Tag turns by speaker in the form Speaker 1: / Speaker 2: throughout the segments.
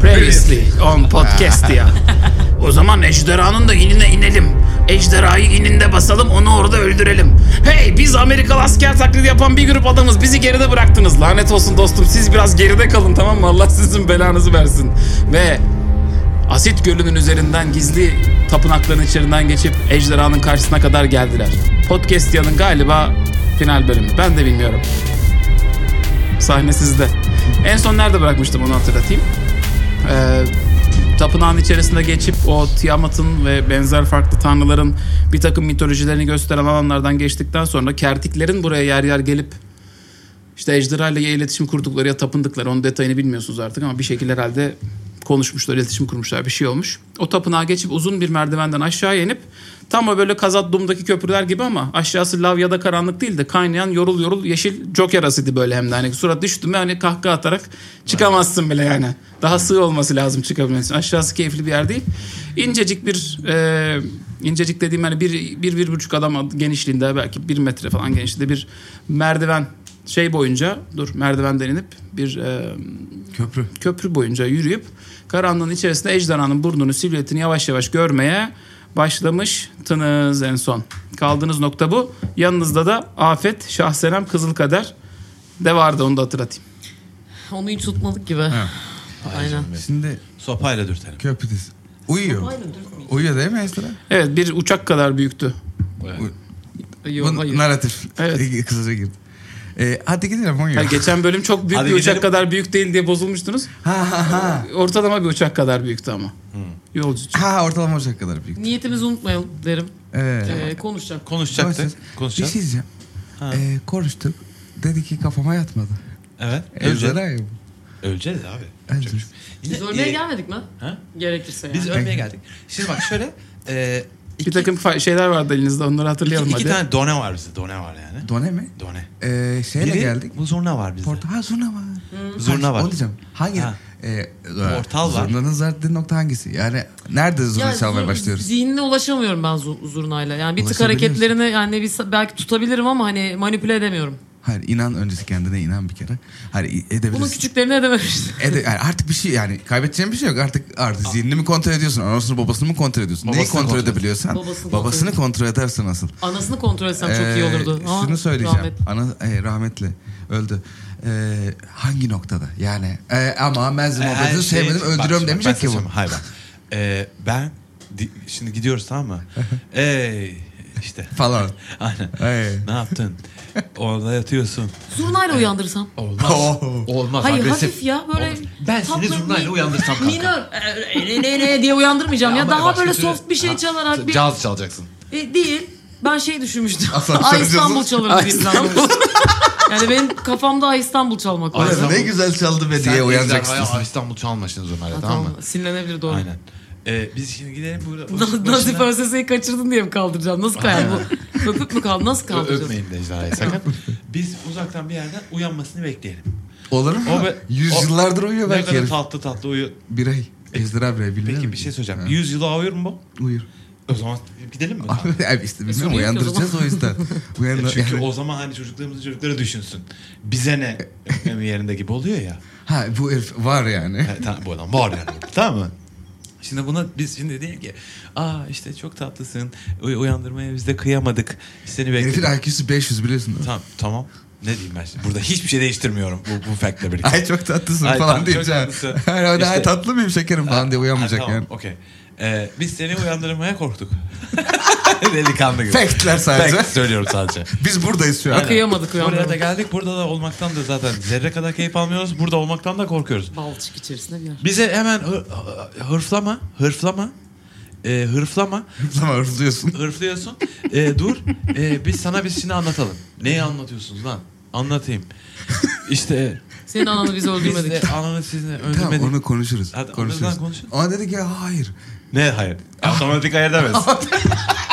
Speaker 1: Seriously on podcast ya. O zaman ejderhanın da inine inelim. Ejderhayı ininde basalım onu orada öldürelim. Hey biz Amerikalı asker taklidi yapan bir grup adamız bizi geride bıraktınız. Lanet olsun dostum siz biraz geride kalın tamam mı Allah sizin belanızı versin. Ve Asit Gölü'nün üzerinden gizli tapınakların içerinden geçip ejderhanın karşısına kadar geldiler. Podcast yanın galiba final bölümü ben de bilmiyorum. Sahne sizde. En son nerede bırakmıştım onu hatırlatayım. Ee, tapınağın içerisinde geçip o Tiamat'ın ve benzer farklı tanrıların bir takım mitolojilerini gösteren alanlardan geçtikten sonra kertiklerin buraya yer yer gelip işte ejderha ile ya iletişim kurdukları ya tapındıkları onun detayını bilmiyorsunuz artık ama bir şekilde herhalde konuşmuşlar, iletişim kurmuşlar bir şey olmuş. O tapınağa geçip uzun bir merdivenden aşağı inip tam o böyle Kazatlum'daki köprüler gibi ama aşağısı lav ya da karanlık değil de kaynayan yorul yorul yeşil joker asidi böyle hem de hani surat düştü mü hani kahkaha atarak çıkamazsın bile yani. Daha sığ olması lazım çıkabilmesi. Aşağısı keyifli bir yer değil. İncecik bir e, incecik dediğim hani bir, bir, bir buçuk adam genişliğinde belki bir metre falan genişliğinde bir merdiven şey boyunca dur merdivenden inip bir e,
Speaker 2: Köprü.
Speaker 1: köprü boyunca yürüyüp karanlığın içerisinde ejderhanın burnunu silüetini yavaş yavaş görmeye başlamıştınız en son. Kaldığınız nokta bu. Yanınızda da Afet, Şahsenem, Kızılkader de vardı onu da hatırlatayım.
Speaker 3: Onu hiç tutmadık gibi. Aynen.
Speaker 2: Şimdi
Speaker 4: Sopayla dürtelim.
Speaker 2: köprüdesin. Uyuyor. Uyuyor değil mi Esra?
Speaker 1: Evet bir uçak kadar büyüktü. Yok,
Speaker 2: Bu
Speaker 1: hayır.
Speaker 2: narratif.
Speaker 1: Evet.
Speaker 2: Kısaca girdi. Ee, hadi gidelim
Speaker 1: Ha,
Speaker 2: uyuyor.
Speaker 1: geçen bölüm çok büyük
Speaker 4: Hadi
Speaker 1: bir uçak
Speaker 4: gidelim.
Speaker 1: kadar büyük değil diye bozulmuştunuz.
Speaker 2: Ha ha ha.
Speaker 1: Ortalama bir uçak kadar büyüktü ama.
Speaker 4: Hmm.
Speaker 1: Yolcu.
Speaker 2: Ha ortalama olacak kadar büyük.
Speaker 3: Niyetimizi unutmayalım derim.
Speaker 2: Evet.
Speaker 3: Ee, konuşacak.
Speaker 4: Konuşacaktık.
Speaker 2: Bir şey
Speaker 4: Konuşacağız.
Speaker 2: diyeceğim.
Speaker 4: Ha.
Speaker 2: Ee, konuştuk. Dedi ki kafama yatmadı.
Speaker 4: Evet. Öleceğiz.
Speaker 2: Ejderha ya bu.
Speaker 4: Öleceğiz abi.
Speaker 2: Öleceğiz.
Speaker 4: Çok- Yine-
Speaker 3: Biz ölmeye
Speaker 4: e,
Speaker 3: gelmedik mi?
Speaker 4: Ha?
Speaker 3: Gerekirse yani.
Speaker 4: Biz ölmeye geldik. Şimdi bak şöyle. E, iki,
Speaker 1: Bir takım fa- şeyler vardı elinizde onları
Speaker 4: iki,
Speaker 1: hatırlayalım
Speaker 4: iki
Speaker 1: hadi.
Speaker 4: tane done var bizde. Done var yani.
Speaker 2: Done mi?
Speaker 4: Done.
Speaker 2: Ee, şeyle
Speaker 4: Biri-
Speaker 2: geldik.
Speaker 4: Bu zurna var bizde.
Speaker 2: Portal. Ha zurna var.
Speaker 4: Zurna var.
Speaker 2: Onu diyeceğim. Hangi?
Speaker 4: Ha.
Speaker 2: Ee,
Speaker 4: Portal var.
Speaker 2: Zurnanın zarttığı nokta hangisi? Yani nerede zurna çalmaya
Speaker 3: zu-
Speaker 2: başlıyoruz?
Speaker 3: Zihnine ulaşamıyorum ben zu- zurnayla. Yani bir tık
Speaker 2: Ulaşabilir misin?
Speaker 3: hareketlerini yani bir, belki tutabilirim ama hani manipüle edemiyorum.
Speaker 2: Hayır inan öncesi kendine inan bir kere. Hayır i- edebilirsin.
Speaker 3: Bunun küçüklerine edememiştim.
Speaker 2: Ede- yani artık bir şey yani kaybedeceğin bir şey yok. Artık artık zihnini mi kontrol ediyorsun? Anasını babasını mı kontrol ediyorsun? Neyi
Speaker 4: Babasını
Speaker 2: kontrol,
Speaker 4: kontrol
Speaker 2: edebiliyorsan
Speaker 3: Babasını
Speaker 2: babasını,
Speaker 3: kontrol
Speaker 2: kontrol edersin asıl.
Speaker 3: Anasını kontrol etsem çok iyi
Speaker 2: Ee,
Speaker 3: olurdu. Ama
Speaker 2: şunu söyleyeceğim.
Speaker 3: rahmet.
Speaker 2: Ana e, rahmetli öldü. Ee, hangi noktada? Yani e, ama ben
Speaker 4: Ee, her
Speaker 2: babasını
Speaker 4: şey-
Speaker 2: sevmedim
Speaker 4: Bak şimdi
Speaker 2: öldürüyorum
Speaker 4: bak,
Speaker 2: demeyecek
Speaker 4: ben
Speaker 2: ki bu.
Speaker 4: saçma- Hayır bak. E, ben di- şimdi gidiyoruz tamam mı? Ey işte.
Speaker 2: Falan. Ee,
Speaker 4: Aynen.
Speaker 2: Ey.
Speaker 4: Ne yaptın? Orada yatıyorsun.
Speaker 3: Zurnayla uyandırsam.
Speaker 5: Olmaz.
Speaker 2: Oo.
Speaker 5: Olmaz.
Speaker 3: Hayır
Speaker 5: agresif.
Speaker 3: hafif ya böyle
Speaker 5: Olmaz. Ben seni
Speaker 3: tatlı,
Speaker 5: zurnayla
Speaker 3: mi-
Speaker 5: uyandırsam kanka.
Speaker 3: Minör e, ne ne ne diye uyandırmayacağım ya,
Speaker 5: Ama
Speaker 3: daha
Speaker 5: başka
Speaker 3: böyle
Speaker 5: türlü-
Speaker 3: soft bir şey
Speaker 5: Ha,
Speaker 3: çalarak bir
Speaker 5: Caz çalacaksın.
Speaker 3: E, değil. Ben şey düşünmüştüm.
Speaker 2: Asansör
Speaker 3: Ay
Speaker 2: cazı.
Speaker 3: İstanbul çalarım diye planlamıştım. Yani benim kafamda Ay İstanbul çalmak var.
Speaker 5: Ay İstanbul.
Speaker 2: Ne güzel çaldı be diye
Speaker 5: Sen
Speaker 2: uyanacaksın.
Speaker 5: ejderhaya, "Aa, İstanbul çalma şimdi zurnayla
Speaker 3: Ha,
Speaker 5: tamam mı?
Speaker 3: tamam. Sinirlenebilir doğru.
Speaker 4: Aynen. E, biz şimdi gidelim burada.
Speaker 3: Na- Nazif ÖSS'yi kaçırdın diye mi kaldıracağım? Nasıl kayar bu? Öpüp mü kaldı? Nasıl
Speaker 4: Ö-
Speaker 3: kaldıracağız?
Speaker 4: Öpmeyin Necla'yı sakın. Biz uzaktan bir yerden uyanmasını bekleyelim.
Speaker 2: Olur mu?
Speaker 4: O be-
Speaker 2: Yüzyıllardır uyuyor
Speaker 4: Ne
Speaker 2: belki
Speaker 4: kadar
Speaker 2: herif.
Speaker 4: tatlı tatlı uyu.
Speaker 2: Birey. Ejderha birey biliyor
Speaker 4: Peki
Speaker 2: musun?
Speaker 4: bir şey söyleyeceğim.
Speaker 2: Ha.
Speaker 4: 100 yıla ağır mı bu?
Speaker 2: Uyur.
Speaker 4: O zaman gidelim mi?
Speaker 2: Abi işte
Speaker 3: sorun
Speaker 2: bilmiyorum
Speaker 3: yok
Speaker 2: uyandıracağız o yüzden. Uyanır,
Speaker 4: Çünkü o zaman hani çocuklarımızın çocukları düşünsün. Bize ne öpmemi yerinde gibi oluyor ya.
Speaker 2: Ha bu herif var yani.
Speaker 4: Evet, tamam, bu adam var yani. orada, tamam mı? Şimdi buna biz şimdi diyelim ki aa işte çok tatlısın Uy- uyandırmaya biz de kıyamadık seni
Speaker 2: Herifin
Speaker 4: bekledik.
Speaker 2: IQ'su 500 biliyorsun. değil mi?
Speaker 4: Tamam tamam ne diyeyim ben şimdi burada hiçbir şey değiştirmiyorum bu, bu factle birlikte.
Speaker 2: Ay çok tatlısın
Speaker 4: Ay,
Speaker 2: falan
Speaker 4: tam-
Speaker 2: diyeceğim.
Speaker 4: çok
Speaker 2: Hayır
Speaker 4: tatlısın.
Speaker 2: hayır,
Speaker 4: İşte-
Speaker 2: tatlı mıyım şekerim falan diye uyanmayacak
Speaker 4: Ha, tamam,
Speaker 2: yani.
Speaker 4: Okey. Ee, biz seni uyandırmaya korktuk. Delikanlı gibi.
Speaker 2: Factler sadece.
Speaker 4: Fact söylüyorum sadece.
Speaker 2: Biz buradayız şu an.
Speaker 3: Kıyamadık
Speaker 4: Buraya da
Speaker 3: uyandırmak.
Speaker 4: geldik. Burada da olmaktan da zaten zerre kadar keyif almıyoruz. Burada olmaktan da korkuyoruz.
Speaker 3: Balçık içerisinde bir yer.
Speaker 4: Bize hemen hı- hı- hırflama, hırflama, e, hırflama,
Speaker 2: Hırtlama hırtlıyorsun.
Speaker 4: hırflıyorsun. E, dur, E, biz sana biz şimdi anlatalım. Neyi anlatıyorsunuz lan? Anlatayım. İşte
Speaker 3: Senin ananı biz
Speaker 4: biz de
Speaker 3: öldürmedik.
Speaker 4: ananı sizinle
Speaker 2: Tamam
Speaker 4: öldürmedik.
Speaker 2: onu konuşuruz.
Speaker 4: Hadi,
Speaker 2: konuşuruz.
Speaker 4: oradan konuşun.
Speaker 2: Ama dedi ki hayır.
Speaker 4: Ne hayır? Otomatik hayır demez.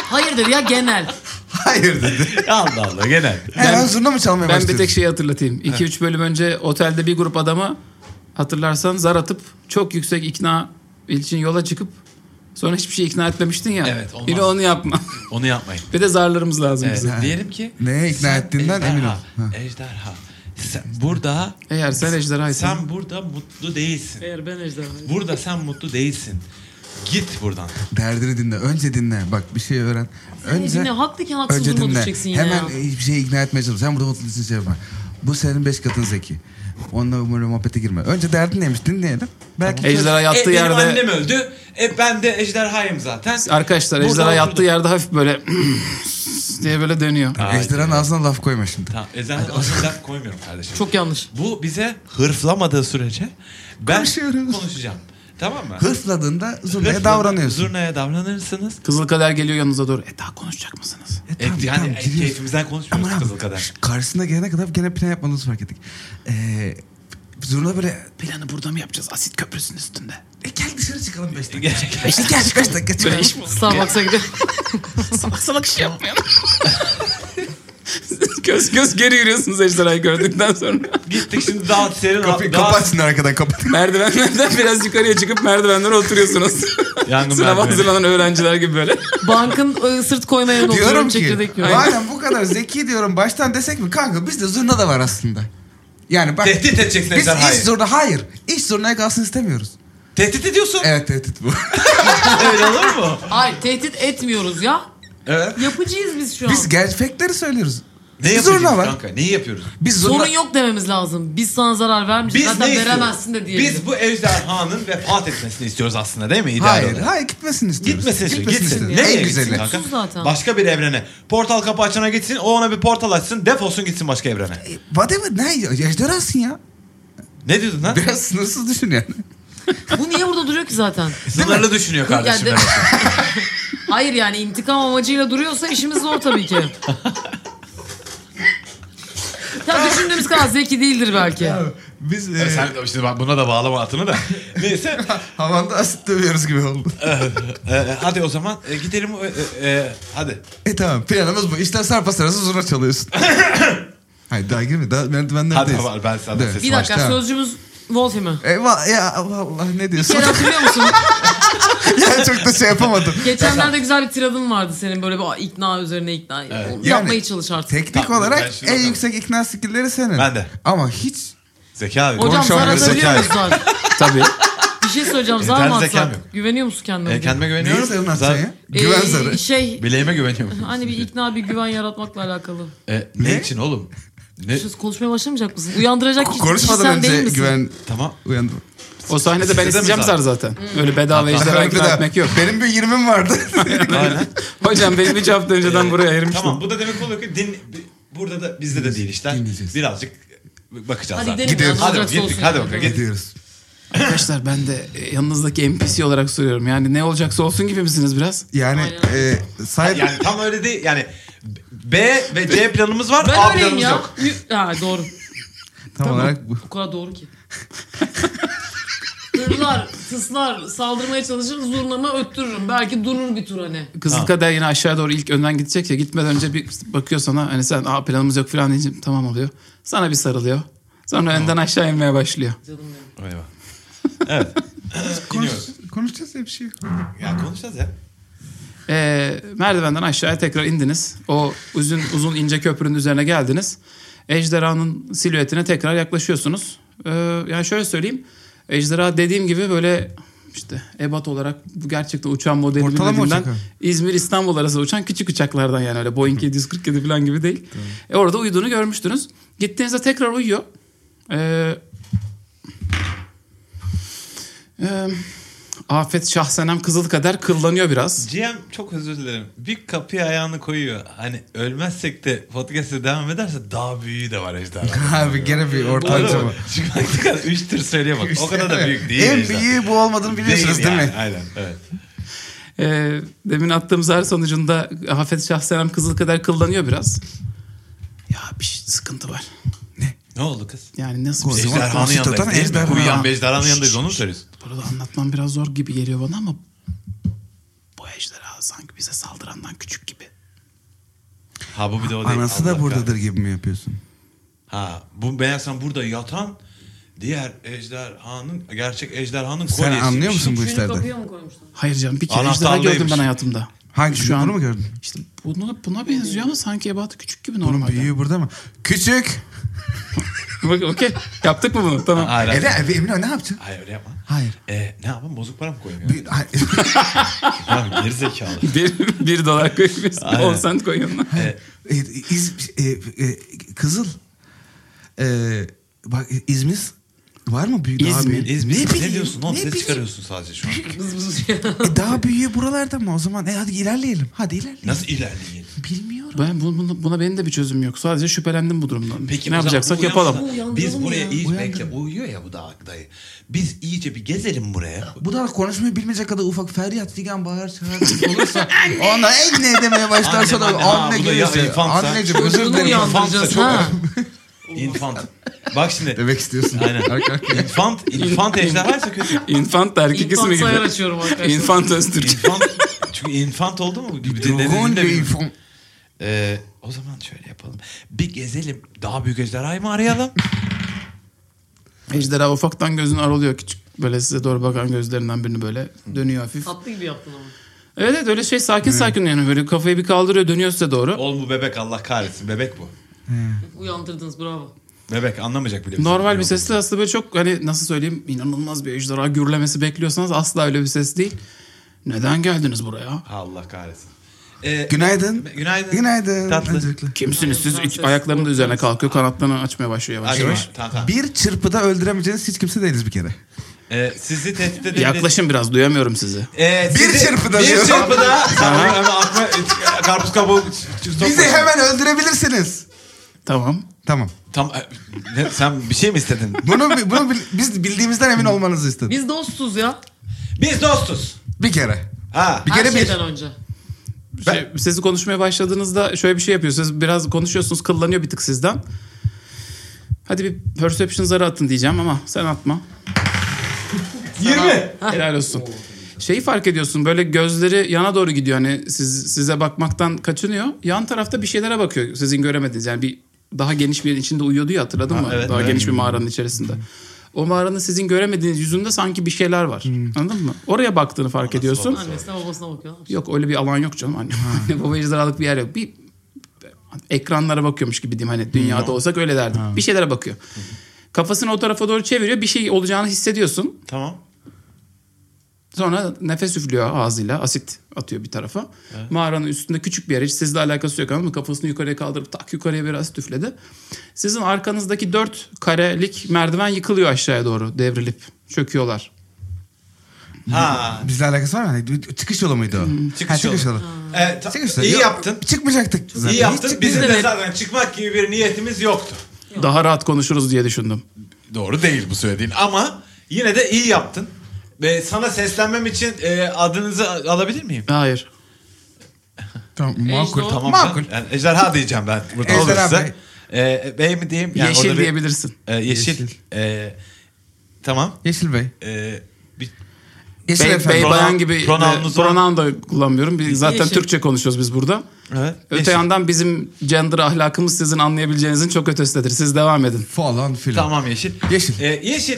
Speaker 3: Hayır dedi ya genel.
Speaker 2: Hayır dedi.
Speaker 4: Allah Allah genel.
Speaker 2: Her an zurna mı çalmaya
Speaker 1: Ben bir
Speaker 2: başlıyorsun?
Speaker 1: tek
Speaker 4: şey-
Speaker 1: şeyi hatırlatayım. 2-3 bölüm önce otelde bir grup adama hatırlarsan zar atıp çok yüksek ikna için yola çıkıp sonra hiçbir şey ikna etmemiştin ya.
Speaker 4: Evet, olmaz.
Speaker 1: Yine onu yapma.
Speaker 4: Onu yapmayın.
Speaker 1: bir de zarlarımız lazım
Speaker 4: Evet,
Speaker 1: bize.
Speaker 4: diyelim ki
Speaker 2: Neye ikna ettiğinden emin ol.
Speaker 4: ejderha,
Speaker 2: Ha.
Speaker 4: Ejderha. Sen burada
Speaker 1: Eğer sen ejderhaysan.
Speaker 4: sen burada mutlu değilsin.
Speaker 3: Eğer ben ejderhayım.
Speaker 4: Burada sen mutlu değilsin. Git buradan.
Speaker 2: Derdini dinle. Önce dinle. Bak bir şey öğren.
Speaker 3: Önce,
Speaker 2: önce
Speaker 3: dinle, haklıyken haksız
Speaker 2: önce
Speaker 3: duruma
Speaker 2: dinle.
Speaker 3: düşeceksin yine
Speaker 2: Hemen
Speaker 3: ya.
Speaker 2: hiçbir şey ikna etmeye çalış. Sen burada mutlu değilsin şey yapma. Bu senin beş katın zeki. Onunla umarım muhabbete girme. Önce derdin neymiş dinleyelim. Belki
Speaker 1: Ejderha yattığı
Speaker 4: e,
Speaker 1: yerde
Speaker 4: Benim annem öldü. E ben de ejderhayım zaten.
Speaker 1: arkadaşlar
Speaker 4: Burada
Speaker 1: ejderha yattığı
Speaker 4: oturdum.
Speaker 1: yerde hafif böyle diye böyle dönüyor.
Speaker 4: Ay.
Speaker 2: Ejderhanın ağzına laf koyma şimdi.
Speaker 4: Tamam, e zaten ağzına laf koymuyorum kardeşim.
Speaker 3: Çok yanlış.
Speaker 4: Bu bize hırflamadığı sürece ben
Speaker 2: Konuşuyoruz.
Speaker 4: konuşacağım. Tamam mı?
Speaker 2: Hırfladığında zurnaya
Speaker 4: Hırfla-
Speaker 2: davranıyorsun.
Speaker 4: Zurnaya davranırsınız.
Speaker 1: Kızıl kader geliyor yanınıza doğru. E daha konuşacak mısınız?
Speaker 2: E,
Speaker 4: E, yani e,
Speaker 2: giriyorsun.
Speaker 4: keyfimizden konuşmuyoruz
Speaker 2: Aman abi,
Speaker 4: kızıl kadar.
Speaker 2: şş, Karşısına gelene kadar gene plan yapmadığımızı fark ettik. Ee, zurna böyle
Speaker 1: Planı burada mı yapacağız? Asit köprüsünün üstünde.
Speaker 2: e, gel dışarı çıkalım 5 dakika.
Speaker 4: Gerçekten.
Speaker 2: Beş dakika, beş dakika çıkalım.
Speaker 3: Starbucks'a gidiyor.
Speaker 1: Salak salak iş yapmayalım. Siz göz göz geri yürüyorsunuz ejderhayı gördükten sonra.
Speaker 4: Gittik şimdi daha serin.
Speaker 2: Kapıyı
Speaker 4: daha-
Speaker 2: kapatsın arkadan kapat.
Speaker 1: Merdivenlerden biraz yukarıya çıkıp merdivenlere oturuyorsunuz.
Speaker 4: Yangın
Speaker 1: Sınava
Speaker 4: merdiveni.
Speaker 1: hazırlanan öğrenciler gibi böyle.
Speaker 3: Bankın e, sırt koymaya
Speaker 2: diyorum
Speaker 3: oturuyorum
Speaker 2: ki
Speaker 3: çekirdek yiyorum.
Speaker 2: madem bu kadar zeki diyorum baştan desek mi kanka bizde zurna da var aslında. Yani bak
Speaker 4: Tehdit edeceksin
Speaker 2: biz
Speaker 4: ejderhayı.
Speaker 2: iş zurna hayır iş zurnaya kalsın istemiyoruz.
Speaker 4: Tehdit ediyorsun.
Speaker 2: Evet tehdit bu.
Speaker 4: Öyle olur mu?
Speaker 3: Ay tehdit etmiyoruz ya.
Speaker 4: Evet.
Speaker 3: Yapıcıyız biz şu an.
Speaker 2: biz gerçekleri söylüyoruz.
Speaker 4: Ne
Speaker 2: zurna
Speaker 4: yapıyoruz
Speaker 2: var.
Speaker 4: kanka? Neyi yapıyoruz?
Speaker 2: Biz zurna...
Speaker 3: Sorun yok dememiz lazım. Biz sana zarar vermeyeceğiz.
Speaker 4: Biz ne
Speaker 3: Zaten
Speaker 4: istiyoruz?
Speaker 3: veremezsin de diyelim.
Speaker 4: Biz bu ejderhanın vefat etmesini istiyoruz aslında değil mi? İdeal
Speaker 2: Hayır,
Speaker 4: olarak.
Speaker 2: hayır gitmesin istiyoruz.
Speaker 4: Gitmesin istiyoruz. Gitsin.
Speaker 2: istiyoruz.
Speaker 4: Nereye
Speaker 2: En
Speaker 4: gitsin
Speaker 2: güzeli.
Speaker 4: kanka?
Speaker 3: Mutsuz zaten.
Speaker 4: Başka bir evrene. Portal kapı açana gitsin. O ona bir portal açsın. Defolsun gitsin başka evrene.
Speaker 2: Whatever ne ejderhasın ya.
Speaker 4: Ne diyordun lan?
Speaker 2: Biraz sınırsız düşün yani.
Speaker 3: Bu niye burada duruyor ki zaten?
Speaker 4: Sınırlı düşünüyor kardeşim.
Speaker 3: Yani-
Speaker 4: demek.
Speaker 3: Hayır yani intikam amacıyla duruyorsa işimiz zor tabii ki. ya düşündüğümüz kadar zeki değildir belki.
Speaker 2: Biz
Speaker 5: E,
Speaker 2: e,
Speaker 5: Sen şimdi bak buna da bağlama atını da.
Speaker 4: Neyse.
Speaker 2: havanda asit dövüyoruz gibi oldu.
Speaker 4: Ee, hadi o zaman e, gidelim. e, e, e, hadi.
Speaker 2: e tamam planımız bu. İşten sarpa sarası zurna çalıyorsun. hayır daha girme. Daha merdivenlerdeyiz.
Speaker 4: Hadi var ben sana
Speaker 2: Evet.
Speaker 4: sesim
Speaker 3: Bir dakika
Speaker 2: Başta.
Speaker 3: sözcümüz Wolfie mi?
Speaker 2: Eyvah ya vallahi ne diyorsun?
Speaker 3: Sen hatırlıyor musun?
Speaker 2: ya çok da şey yapamadım.
Speaker 3: Geçenlerde güzel bir tiradın vardı senin böyle bir ikna üzerine ikna. Yapmaya
Speaker 2: Yani-
Speaker 3: çalış artık.
Speaker 2: Teknik
Speaker 4: Tamam, ben
Speaker 2: olarak
Speaker 4: şimdi
Speaker 2: en
Speaker 4: bakalım.
Speaker 2: yüksek ikna skillleri senin.
Speaker 4: Ben de.
Speaker 2: Ama hiç
Speaker 4: Zeka abi.
Speaker 3: Hocam zar
Speaker 2: konuşamıyoruz,
Speaker 3: atabiliyor
Speaker 4: zeka
Speaker 3: muyuz zar?
Speaker 1: Tabii.
Speaker 3: Bir şey söyleyeceğim zar
Speaker 4: Yeterli
Speaker 3: mı
Speaker 4: E, zekam
Speaker 3: atsak?
Speaker 4: yok.
Speaker 3: Güveniyor musun kendine?
Speaker 4: E, kendime
Speaker 2: neyi
Speaker 4: güveniyorum.
Speaker 2: sarın
Speaker 4: Zar-
Speaker 2: atacaksın ya? Güven
Speaker 3: Ee,
Speaker 2: zarı.
Speaker 3: Şey
Speaker 4: Bileğime güveniyorum.
Speaker 3: hani bir ikna bir güven yaratmakla alakalı.
Speaker 4: E,
Speaker 2: Ne?
Speaker 4: ne için oğlum?
Speaker 2: E,
Speaker 4: Ne?
Speaker 3: Siz konuşmaya başlamayacak mısın? Uyandıracak kişi, kişi
Speaker 2: Konuşmadan
Speaker 3: sen değil
Speaker 2: önce
Speaker 3: misin?
Speaker 2: güven
Speaker 4: Tamam.
Speaker 2: uyandım.
Speaker 1: O sahnede ben
Speaker 4: Sizde mi
Speaker 1: isteyeceğim zar
Speaker 4: zar?
Speaker 1: zaten. Öyle bedava ejderha
Speaker 2: Özellikle
Speaker 1: ikna
Speaker 2: de-
Speaker 1: etmek yok.
Speaker 2: Benim bir 20'm vardı.
Speaker 4: Aynen.
Speaker 1: Hocam beni üç hafta önceden buraya ayırmıştım.
Speaker 4: Tamam Ee, bu da demek oluyor ki din, burada da bizde de değil işler.
Speaker 2: Dinleyeceğiz.
Speaker 4: Birazcık bakacağız
Speaker 3: Hadi
Speaker 4: zaten.
Speaker 3: gidelim.
Speaker 2: Gidiyoruz.
Speaker 3: ya, ne
Speaker 4: Hadi
Speaker 3: olacaksa
Speaker 4: gittik,
Speaker 3: olsun.
Speaker 4: hadi bakalım.
Speaker 2: Gidiyoruz.
Speaker 1: Arkadaşlar ben de e, yanınızdaki NPC olarak soruyorum. Yani ne olacaksa olsun gibi misiniz biraz?
Speaker 2: Yani e, say-
Speaker 4: Yani tam öyle değil yani B ve C planımız var
Speaker 3: Ben
Speaker 4: A
Speaker 3: öyleyim
Speaker 4: planımız
Speaker 3: ya.
Speaker 4: yok.
Speaker 3: Y- Ha doğru.
Speaker 2: tam olarak bu.
Speaker 3: O kadar doğru ki. Hırlar, tıslar, saldırmaya çalışır, zurnamı öttürürüm. Belki durur bir tur hani.
Speaker 1: Kızıl
Speaker 4: Tamam.
Speaker 1: Kader yine aşağı doğru ilk önden gidecek ya gitmeden önce bir bakıyor sana hani sen aa planımız yok falan deyince tamam oluyor. Sana bir sarılıyor. Sonra önden aşağı inmeye başlıyor.
Speaker 3: Canım benim.
Speaker 4: Eyvah. Evet. Dinliyoruz.
Speaker 2: Konuşacağız ya bir şey yok.
Speaker 4: Ya konuşacağız ya.
Speaker 1: Ee, merdivenden aşağıya tekrar indiniz. O uzun uzun ince köprünün üzerine geldiniz. Ejderhanın silüetine tekrar yaklaşıyorsunuz. Ee, yani şöyle söyleyeyim. Ejderha dediğim gibi böyle işte ebat olarak bu gerçekten uçan modeli
Speaker 2: Ortalama
Speaker 1: bilmediğimden
Speaker 2: uçak ha.
Speaker 1: İzmir İstanbul arası uçan küçük uçaklardan yani öyle Boeing 747 falan gibi değil. E, orada uyuduğunu görmüştünüz. Gittiğinizde tekrar uyuyor. Ee, e, Afet Şahsenem Kızıl Kader kıllanıyor biraz.
Speaker 4: GM çok özür dilerim. Bir kapıya ayağını koyuyor. Hani ölmezsek de podcast'e devam ederse daha büyüğü de var ejderha.
Speaker 2: Abi gene bir ortanca bu.
Speaker 4: Çünkü baktık hani üç tür söylüyor bak. O kadar da büyük değil.
Speaker 2: En
Speaker 4: ejderha.
Speaker 2: büyüğü bu olmadığını biliyorsunuz değil,
Speaker 4: yani,
Speaker 2: mi?
Speaker 4: Aynen. Evet.
Speaker 1: Ee, demin attığım zar sonucunda Hafet Şahsenem kızıl kadar kıllanıyor biraz. Ya bir şey- sıkıntı var.
Speaker 4: Ne oldu kız?
Speaker 1: Yani nasıl bir şey?
Speaker 2: Kozum.
Speaker 4: Ejderhanın
Speaker 2: Konstantin
Speaker 4: yanındayız değil mi?
Speaker 2: ejderha.
Speaker 4: Uyuyan bir ejderhanın yanındayız onu mu söylüyorsun?
Speaker 1: Burada anlatmam biraz zor gibi geliyor bana ama bu ejderha sanki bize saldırandan küçük gibi.
Speaker 4: Ha bu bir de o değil.
Speaker 2: Anası
Speaker 4: Allah
Speaker 2: da buradadır gibi mi yapıyorsun?
Speaker 4: Ha bu meğersem burada yatan diğer ejderhanın gerçek ejderhanın kolyesi.
Speaker 2: Sen anlıyor musun bu
Speaker 3: Üçünü
Speaker 2: işlerden?
Speaker 3: kapıya mı koymuştun?
Speaker 1: Hayır canım bir kere ejderha
Speaker 4: Anahtarlıymış.
Speaker 1: gördüm ben hayatımda.
Speaker 2: Hangi şu an? Bunu mu gördün?
Speaker 1: İşte buna, buna benziyor ama sanki ebatı küçük gibi
Speaker 2: Bunun
Speaker 1: normalde.
Speaker 2: büyüğü burada mı? Küçük.
Speaker 1: Bak, Okey. Yaptık mı bunu? Tamam.
Speaker 4: Aynen.
Speaker 2: Ede abi Emine ne yaptın?
Speaker 4: Hayır öyle yapma.
Speaker 2: Hayır.
Speaker 4: Ee, ne yapayım bozuk para mı koyayım ya?
Speaker 2: Bir- hayır.
Speaker 4: Abi geri zekalı.
Speaker 1: Bir, bir dolar koyuyorsun.
Speaker 4: Aynen.
Speaker 1: 10 sent koyuyorsun.
Speaker 2: E, İz, e, e, Kızıl. E, bak İzmir var mı büyük daha
Speaker 1: İzmir,
Speaker 2: büyük?
Speaker 4: İzmir ne,
Speaker 2: bileyim,
Speaker 4: diyorsun
Speaker 2: ne
Speaker 4: oğlum? Ses
Speaker 2: bileyim.
Speaker 4: çıkarıyorsun sadece şu an.
Speaker 3: Bız bız ya.
Speaker 2: E, daha büyüğü buralarda mı o zaman? E, hadi ilerleyelim. Hadi ilerleyelim.
Speaker 4: Nasıl ilerleyin?
Speaker 2: Bilmiyorum.
Speaker 1: Ben bu- buna, buna benim de bir çözüm yok. Sadece şüphelendim bu durumdan.
Speaker 4: Peki
Speaker 1: ne
Speaker 4: o zaman
Speaker 1: yapacaksak
Speaker 4: bu
Speaker 1: yapalım.
Speaker 4: uyansa- Biz
Speaker 3: Uyandıralım
Speaker 4: buraya
Speaker 3: ya.
Speaker 4: iyice
Speaker 2: Uyandırın.
Speaker 4: bekle. Uyuyor ya bu da dayı. Biz iyice bir gezelim buraya.
Speaker 2: Bu da konuşmayı bilmeyecek kadar ufak feryat figan bağır çağır olursa ona en ne demeye başlarsa da
Speaker 4: Annem, annem, ha,
Speaker 2: anne
Speaker 4: bu da ya-
Speaker 2: gelirse.
Speaker 4: infansa.
Speaker 2: Anneciğim özür
Speaker 3: Çocuğunu
Speaker 2: dilerim.
Speaker 3: uyandıracağız
Speaker 4: Çok-
Speaker 3: ha.
Speaker 4: İnfant. Bak şimdi.
Speaker 2: Demek istiyorsun.
Speaker 4: Aynen.
Speaker 2: Arka arkaya.
Speaker 4: İnfant, infant ejderhaysa kötü.
Speaker 1: İnfant da erkek
Speaker 3: İnfant
Speaker 1: ismi
Speaker 3: sayar
Speaker 1: gibi.
Speaker 3: açıyorum arkadaşlar.
Speaker 1: İnfant Öztürk.
Speaker 4: İnfant. Çünkü infant oldu mu? Bir de-
Speaker 2: Dragon
Speaker 4: nedenini de bilmiyorum.
Speaker 2: Beyfon.
Speaker 4: Ee, o zaman şöyle yapalım. Bir gezelim. Daha büyük ejderhayı mı arayalım?
Speaker 1: Ejderha ufaktan gözünü aralıyor küçük. Böyle size doğru bakan gözlerinden birini böyle dönüyor hafif.
Speaker 3: Tatlı gibi yaptın ama.
Speaker 1: Evet evet öyle şey sakin sakin yani böyle kafayı bir kaldırıyor dönüyor size doğru.
Speaker 4: Oğlum bu bebek Allah kahretsin. Bebek bu.
Speaker 3: Uyandırdınız bravo.
Speaker 4: Bebek anlamayacak bile. bizi.
Speaker 1: Normal bir
Speaker 4: Yok.
Speaker 1: sesle aslında böyle çok hani nasıl söyleyeyim inanılmaz bir ejderha gürlemesi bekliyorsanız asla öyle bir ses değil. Neden geldiniz buraya?
Speaker 4: Ha, Allah kahretsin. Ee,
Speaker 2: Günaydın.
Speaker 4: Günaydın.
Speaker 2: Günaydın.
Speaker 4: Tatlı.
Speaker 2: Öncelikle.
Speaker 1: Kimsiniz siz? Üç, ayaklarını da üzerine kalkıyor kanatlarını açmaya başlıyor yavaş
Speaker 4: Acaba-
Speaker 1: yavaş.
Speaker 4: Tamam, tamam.
Speaker 2: Bir çırpıda öldüremeyeceğiniz hiç kimse değiliz bir kere.
Speaker 4: Ee, sizi tehdit edebiliriz.
Speaker 1: Yaklaşın biraz duyamıyorum sizi.
Speaker 4: Ee,
Speaker 2: Bir
Speaker 4: sizi-
Speaker 2: çırpıda
Speaker 4: Bir
Speaker 2: diyor.
Speaker 4: çırpıda. Hemen atma, e, karpuz kabuğu. ç- ç-
Speaker 2: Bizi
Speaker 4: sokma.
Speaker 2: hemen öldürebilirsiniz.
Speaker 1: Tamam.
Speaker 2: Tamam.
Speaker 4: Tam, e, ne, sen bir şey mi istedin?
Speaker 2: Bunu bunu bil- biz bildiğimizden emin olmanızı istedim.
Speaker 3: Biz dostuz ya.
Speaker 4: Biz dostuz.
Speaker 2: Bir kere.
Speaker 4: Ha.
Speaker 2: Bir
Speaker 3: Her
Speaker 2: kere bir.
Speaker 3: şeyden önce.
Speaker 1: Şey, sizi konuşmaya başladığınızda şöyle bir şey yapıyorsunuz. Biraz konuşuyorsunuz kıllanıyor bir tık sizden. Hadi bir perception zarı atın diyeceğim ama sen atma.
Speaker 4: 20.
Speaker 1: Helal olsun. Şeyi fark ediyorsun böyle gözleri yana doğru gidiyor hani siz, size bakmaktan kaçınıyor. Yan tarafta bir şeylere bakıyor sizin göremediğiniz yani bir daha geniş bir yerin içinde uyuyordu ya hatırladın mı?
Speaker 4: evet,
Speaker 1: daha
Speaker 4: evet.
Speaker 1: geniş bir mağaranın içerisinde. O mağaranın sizin göremediğiniz yüzünde sanki bir şeyler var.
Speaker 4: Hmm.
Speaker 1: Anladın mı? Oraya baktığını fark ediyorsun.
Speaker 3: Annesine babasına bakıyor.
Speaker 1: Yok öyle bir alan yok canım. Anne, anne baba ejderhalık bir yer yok. Bir ekranlara bakıyormuş gibi diyeyim
Speaker 4: Hmm,
Speaker 1: hani dünyada olsak öyle derdim. Bir şeylere bakıyor. Kafasını o tarafa doğru çeviriyor. Bir şey olacağını hissediyorsun.
Speaker 4: Tamam.
Speaker 1: Sonra nefes üflüyor ağzıyla. Asit atıyor bir tarafa. Mağaranın üstünde küçük bir yer. Hiç sizle alakası yok ama kafasını yukarıya kaldırıp tak yukarıya bir asit üfledi. Sizin arkanızdaki dört karelik merdiven yıkılıyor aşağıya doğru devrilip. Çöküyorlar.
Speaker 4: Ha.
Speaker 2: Bizle alakası var mı? Hani bir Çıkış yolu muydu o?
Speaker 4: Hmm, Çıkış
Speaker 2: Ha, çıkış
Speaker 4: yolu.
Speaker 2: yolu.
Speaker 4: Ee, ta-
Speaker 2: Çıkış yolu.
Speaker 4: iyi
Speaker 2: Yok,
Speaker 4: yaptın.
Speaker 2: Çıkmayacaktık. zaten.
Speaker 4: İyi yaptın.
Speaker 2: Hiç-
Speaker 4: Bizim
Speaker 3: Evet.
Speaker 4: de zaten çıkmak gibi bir niyetimiz yoktu.
Speaker 1: Daha rahat konuşuruz diye düşündüm.
Speaker 4: Doğru değil bu söylediğin ama yine de iyi yaptın. Ve sana seslenmem için e, adınızı a- alabilir miyim?
Speaker 1: Hayır.
Speaker 2: Tamam, makul.
Speaker 3: Ejdo.
Speaker 2: Tamam.
Speaker 4: ben-
Speaker 2: Makul.
Speaker 4: Yani ejderha diyeceğim ben burada
Speaker 2: Ejderha
Speaker 4: olursa.
Speaker 2: bey.
Speaker 4: E, bey mi diyeyim? Yani
Speaker 1: Yeşil
Speaker 4: orada bir-
Speaker 1: diyebilirsin.
Speaker 4: E, yeşil.
Speaker 2: Yeşil.
Speaker 4: E, tamam.
Speaker 2: Yeşil Bey.
Speaker 4: E, bir,
Speaker 2: Yeşil
Speaker 1: Bey,
Speaker 2: Efendi.
Speaker 1: bey
Speaker 4: Pronoun-
Speaker 1: bayan gibi
Speaker 4: pronounumuz
Speaker 1: e,
Speaker 4: var.
Speaker 1: pronoun da kullanmıyorum. Biz zaten
Speaker 3: Yeşil.
Speaker 1: Türkçe konuşuyoruz biz burada.
Speaker 4: evet.
Speaker 1: Öte
Speaker 4: yeşil.
Speaker 1: yandan bizim gender ahlakımız sizin anlayabileceğinizin çok ötesindedir. Siz devam edin.
Speaker 2: Falan filan.
Speaker 4: Tamam yeşil.
Speaker 2: Yeşil.
Speaker 4: E, yeşil.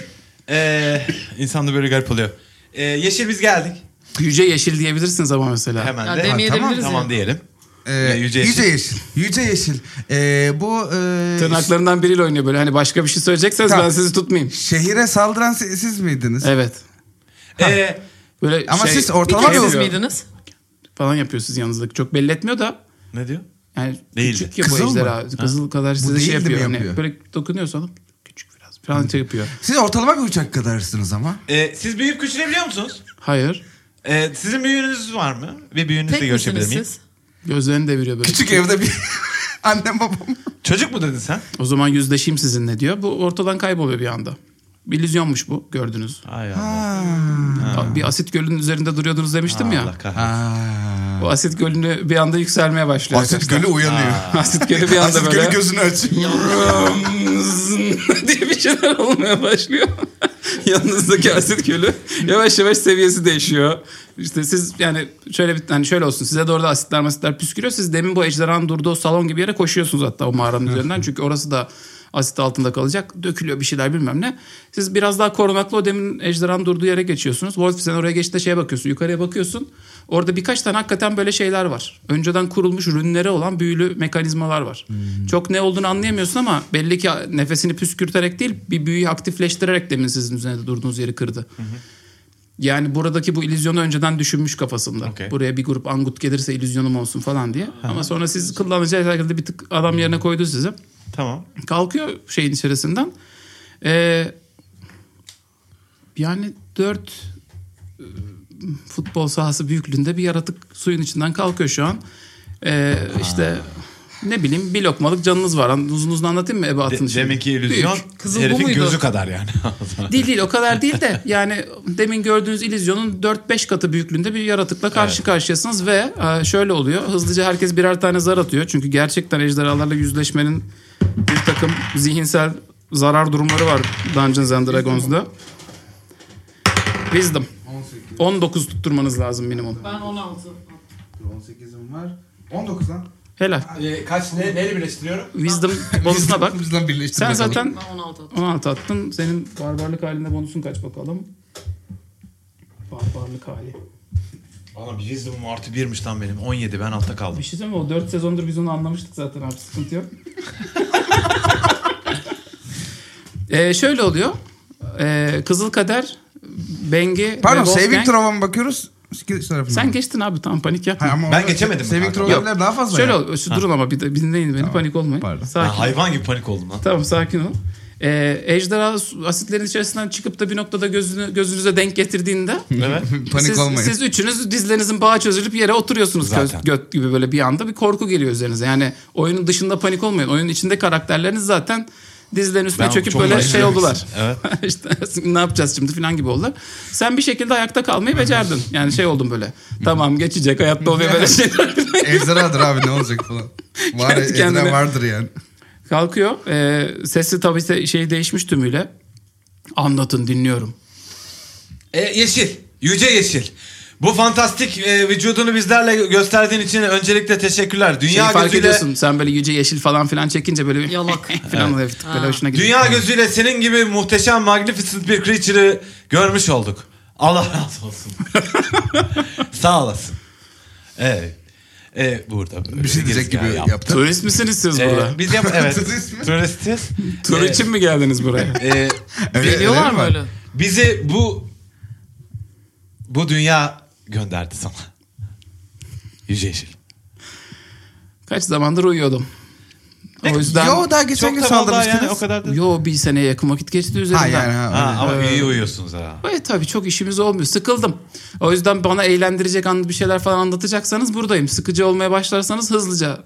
Speaker 4: E, insan da böyle garip oluyor. E, yeşil biz geldik.
Speaker 1: Yüce yeşil diyebilirsiniz ama mesela.
Speaker 4: Hemen
Speaker 3: Ya
Speaker 4: de.
Speaker 3: demeyebiliriz
Speaker 4: Ha, tamam,
Speaker 3: ya.
Speaker 4: tamam diyelim.
Speaker 2: Ee,
Speaker 4: Ya, yüce
Speaker 2: yüce
Speaker 4: yeşil.
Speaker 2: yeşil. Yüce yeşil. Ee, bu e,
Speaker 1: Tırnaklarından biriyle oynuyor böyle. Hani başka bir şey söyleyecekseniz
Speaker 2: Tamam.
Speaker 1: ben sizi tutmayayım.
Speaker 2: şehire saldıran si- siz miydiniz?
Speaker 1: Evet.
Speaker 4: E,
Speaker 1: Böyle
Speaker 2: Ama
Speaker 1: şey
Speaker 2: siz ortalama
Speaker 1: şey
Speaker 2: bir-
Speaker 3: Siz
Speaker 1: diyor,
Speaker 3: miydiniz?
Speaker 1: falan yapıyor siz yanınızdaki. Çok belli etmiyor da.
Speaker 4: ne diyor?
Speaker 1: Yani
Speaker 4: Değildi.
Speaker 1: küçük ya bu
Speaker 2: Kızıl mı?
Speaker 1: ejderha. Kızıl kadar size şey
Speaker 2: değildi mi
Speaker 1: yapıyor. Hani
Speaker 2: yapıyor?
Speaker 1: böyle dokunuyorsan küçük biraz. Falan şey yapıyor.
Speaker 2: Siz ortalama bir uçak kadarsınız ama.
Speaker 4: E, siz büyüyüp küçülebiliyor musunuz?
Speaker 1: Hayır.
Speaker 4: Ee, sizin büyüğünüz var mı? Ve büyüğünüzle
Speaker 3: Tek
Speaker 4: görüşebilir
Speaker 3: misiniz
Speaker 4: miyim?
Speaker 3: siz?
Speaker 1: Gözlerini deviriyor böyle.
Speaker 2: Küçük evde bir annem babam.
Speaker 4: Çocuk mu dedin sen?
Speaker 1: O zaman yüzleşeyim sizinle diyor. Bu ortadan kayboluyor bir anda. Bir illüzyonmuş bu gördünüz.
Speaker 4: Ay
Speaker 1: Bir asit gölünün üzerinde duruyordunuz demiştim ya.
Speaker 4: Allah kahretsin.
Speaker 2: Aa.
Speaker 1: O asit gölünü bir anda yükselmeye başlıyor.
Speaker 2: Asit
Speaker 1: arkadaşlar.
Speaker 2: Gölü uyanıyor.
Speaker 1: Asit gölü bir anda
Speaker 2: Asit
Speaker 1: böyle
Speaker 2: Gölü gözünü açıyor.
Speaker 1: diye bir şeyler olmaya başlıyor. Yanınızdaki asit gölü yavaş yavaş seviyesi değişiyor. İşte siz yani şöyle bir hani şöyle olsun size doğru da asitler masitler püskürüyor. Siz demin bu ejderhanın durduğu salon gibi yere koşuyorsunuz hatta o mağaranın üzerinden. Çünkü orası da Asit altında kalacak. Dökülüyor bir şeyler bilmem ne. Siz biraz daha korunaklı o demin ejderhanın durduğu yere geçiyorsunuz. Wolf sen oraya geçtiğinde şeye bakıyorsun. Yukarıya bakıyorsun. Orada birkaç tane hakikaten böyle şeyler var. Önceden kurulmuş rünlere olan büyülü mekanizmalar var. Çok ne olduğunu anlayamıyorsun ama belli ki nefesini püskürterek değil bir büyüyü aktifleştirerek demin sizin üzerinde durduğunuz yeri kırdı. Yani buradaki bu illüzyonu önceden düşünmüş kafasında.
Speaker 4: Okey.
Speaker 1: Buraya bir grup angut gelirse illüzyonum olsun falan diye. Ama sonra siz kullanıcı şekilde bir tık adam yerine koydu sizi.
Speaker 4: Tamam.
Speaker 1: Kalkıyor şeyin içerisinden. Ee, yani dört e, futbol sahası büyüklüğünde bir yaratık suyun içinden kalkıyor şu an. Ee, işte ne bileyim bir lokmalık canınız var. An- Uzun uzun anlatayım mı
Speaker 4: De-
Speaker 1: ebatın
Speaker 4: demek ki illüzyon
Speaker 3: Kızıl bu
Speaker 4: herifin
Speaker 3: muydu?
Speaker 4: gözü kadar yani.
Speaker 1: Değil değil o kadar değil de yani demin gördüğünüz illüzyonun 4-5 katı büyüklüğünde bir yaratıkla karşı karşıyasınız ve e, şöyle oluyor. Hızlıca herkes birer tane zar atıyor. Çünkü gerçekten ejderhalarla yüzleşmenin bir takım zihinsel zarar durumları var Dungeons and Dragons'da. Wisdom.
Speaker 2: 18.
Speaker 1: 19 tutturmanız lazım minimum.
Speaker 3: Ben 16.
Speaker 2: 18'im var. 19 lan.
Speaker 1: Helal.
Speaker 5: Ee, kaç ne, neyle birleştiriyorum?
Speaker 1: Wisdom bonusuna bak.
Speaker 2: Bizden birleştir
Speaker 1: Sen
Speaker 2: bakalım.
Speaker 1: zaten
Speaker 3: Ben 16 attım.
Speaker 1: 16 attın. Senin barbarlık halinde bonusun kaç bakalım. Barbarlık hali.
Speaker 4: Valla bir wisdom'um artı birmiş lan benim. 17 ben altta kaldım.
Speaker 1: Bir şey söyleyeyim mi? O 4 sezondur biz onu anlamıştık zaten abi sıkıntı yok. Ee, şöyle oluyor. Ee, Kızıl Kader, Bengi
Speaker 2: Pardon
Speaker 1: ve Wolfgang-
Speaker 2: saving throw'a mı bakıyoruz? Skill tarafına.
Speaker 1: Sen geçtin abi tam panik yapma.
Speaker 2: Ha, ama
Speaker 4: Ben
Speaker 2: orada
Speaker 4: geçemedim mi
Speaker 2: Saving
Speaker 4: kanka?
Speaker 2: throw'lar daha fazla.
Speaker 1: şöyle
Speaker 2: ya.
Speaker 1: ol, şu durun ama bir, de- bir dinleyin beni panik olmayın.
Speaker 2: pardon.
Speaker 1: Sakin.
Speaker 4: Ha, hayvan gibi panik oldum lan.
Speaker 1: Tamam sakin ol. Ee, ejderha su- asitlerin içerisinden çıkıp da bir noktada gözünü, gözünüze denk getirdiğinde
Speaker 4: Evet.
Speaker 2: Panik
Speaker 1: siz,
Speaker 2: olmayın.
Speaker 1: siz üçünüz dizlerinizin bağı çözülüp yere oturuyorsunuz göz,
Speaker 4: Zaten.
Speaker 1: göt gibi böyle bir anda bir korku geliyor üzerinize. Yani oyunun dışında panik olmayın. Oyunun içinde karakterleriniz zaten dizlerin üstüne
Speaker 4: Ben
Speaker 1: çöküp
Speaker 4: çok
Speaker 1: böyle
Speaker 4: merak
Speaker 1: şey
Speaker 4: ediyorum.
Speaker 1: oldular.
Speaker 4: Evet.
Speaker 1: işte ne yapacağız şimdi falan gibi oldu. Sen bir şekilde ayakta kalmayı becerdin. Yani şey oldun böyle. Tamam geçecek hayatta oluyor böyle şey. şeyler.
Speaker 2: Ejderhadır abi ne olacak falan. Var,
Speaker 1: Kendi kendine.
Speaker 2: ejderha vardır yani.
Speaker 1: Kalkıyor. Ee, sesi tabii se- şey değişmiş tümüyle. Anlatın dinliyorum.
Speaker 4: E, yeşil. Yüce Yeşil. Bu fantastik e, vücudunu bizlerle gösterdiğin için öncelikle teşekkürler.
Speaker 1: Şeyi
Speaker 4: Dünya
Speaker 1: fark
Speaker 4: gözüyle
Speaker 1: ediyorsun. Sen böyle yüce yeşil falan filan çekince böyle bir
Speaker 3: Yalak.
Speaker 1: falan oluyor. Böyle hoşuna gidiyor.
Speaker 4: Dünya gözüyle senin gibi muhteşem magnificent bir creature'ı görmüş olduk. Allah razı olsun. Sağ olasın. Evet. Ee, burada böyle
Speaker 2: Bir şey diyecek gibi
Speaker 4: gezgah yap-
Speaker 2: yaptı.
Speaker 1: Turist misiniz siz
Speaker 4: Ee,
Speaker 1: burada?
Speaker 4: biz yap evet.
Speaker 2: Turist mi?
Speaker 4: Turistiz.
Speaker 1: Tur
Speaker 4: Ee,
Speaker 1: için mi geldiniz buraya?
Speaker 4: e,
Speaker 2: Öyle-
Speaker 3: Geliyorlar
Speaker 2: öyle
Speaker 3: mı
Speaker 2: mi var?
Speaker 3: öyle?
Speaker 4: bizi bu bu dünya gönderdi sana. Yüce Yeşil.
Speaker 1: Kaç zamandır uyuyordum. O yüzden yo,
Speaker 2: Yo daha geçen gün
Speaker 4: da vallahi
Speaker 2: saldırmıştınız.
Speaker 4: yani o kadar da.
Speaker 1: bir seneye yakın vakit geçti
Speaker 2: Ha
Speaker 1: üzerimden.
Speaker 2: yani ha.
Speaker 4: Ha, ama
Speaker 1: Ee,
Speaker 4: iyi uyuyorsunuz ha.
Speaker 1: Evet tabii çok işimiz olmuyor. Sıkıldım. O yüzden bana eğlendirecek an bir şeyler falan anlatacaksanız buradayım. Sıkıcı olmaya başlarsanız hızlıca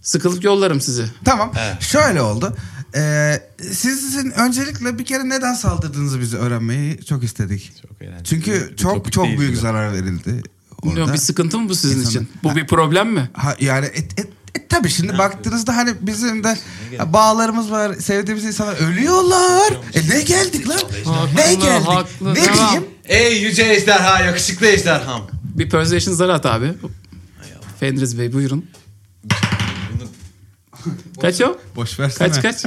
Speaker 1: sıkılıp yollarım sizi.
Speaker 2: Tamam.
Speaker 4: Evet.
Speaker 2: Şöyle oldu. Ee, sizin öncelikle bir kere neden saldırdığınızı bizi öğrenmeyi çok istedik.
Speaker 4: Çok eğlenceli.
Speaker 2: Çünkü
Speaker 4: Bir
Speaker 2: çok
Speaker 4: topik
Speaker 2: çok
Speaker 4: değil
Speaker 2: büyük
Speaker 4: gibi.
Speaker 2: zarar verildi orada.
Speaker 1: Bilmiyorum, Bir sıkıntı mı bu sizin
Speaker 2: İnsanın-
Speaker 1: için? Bu bir problem mi?
Speaker 2: Ha, yani et, et, et, tabii şimdi baktığınızda hani bizim de bağlarımız var, sevdiğimiz insanlar ölüyorlar. E ne geldik lan?
Speaker 3: Haklı,
Speaker 2: Ne geldik?
Speaker 3: haklı.
Speaker 2: ne
Speaker 3: Devam.
Speaker 2: diyeyim?
Speaker 4: Ey yüce ejderha, yakışıklı ejderham.
Speaker 1: Bir persuasion zarı at abi. Fenriz Bey buyurun. Kaç o?
Speaker 2: Boş versene.
Speaker 1: Kaç kaç?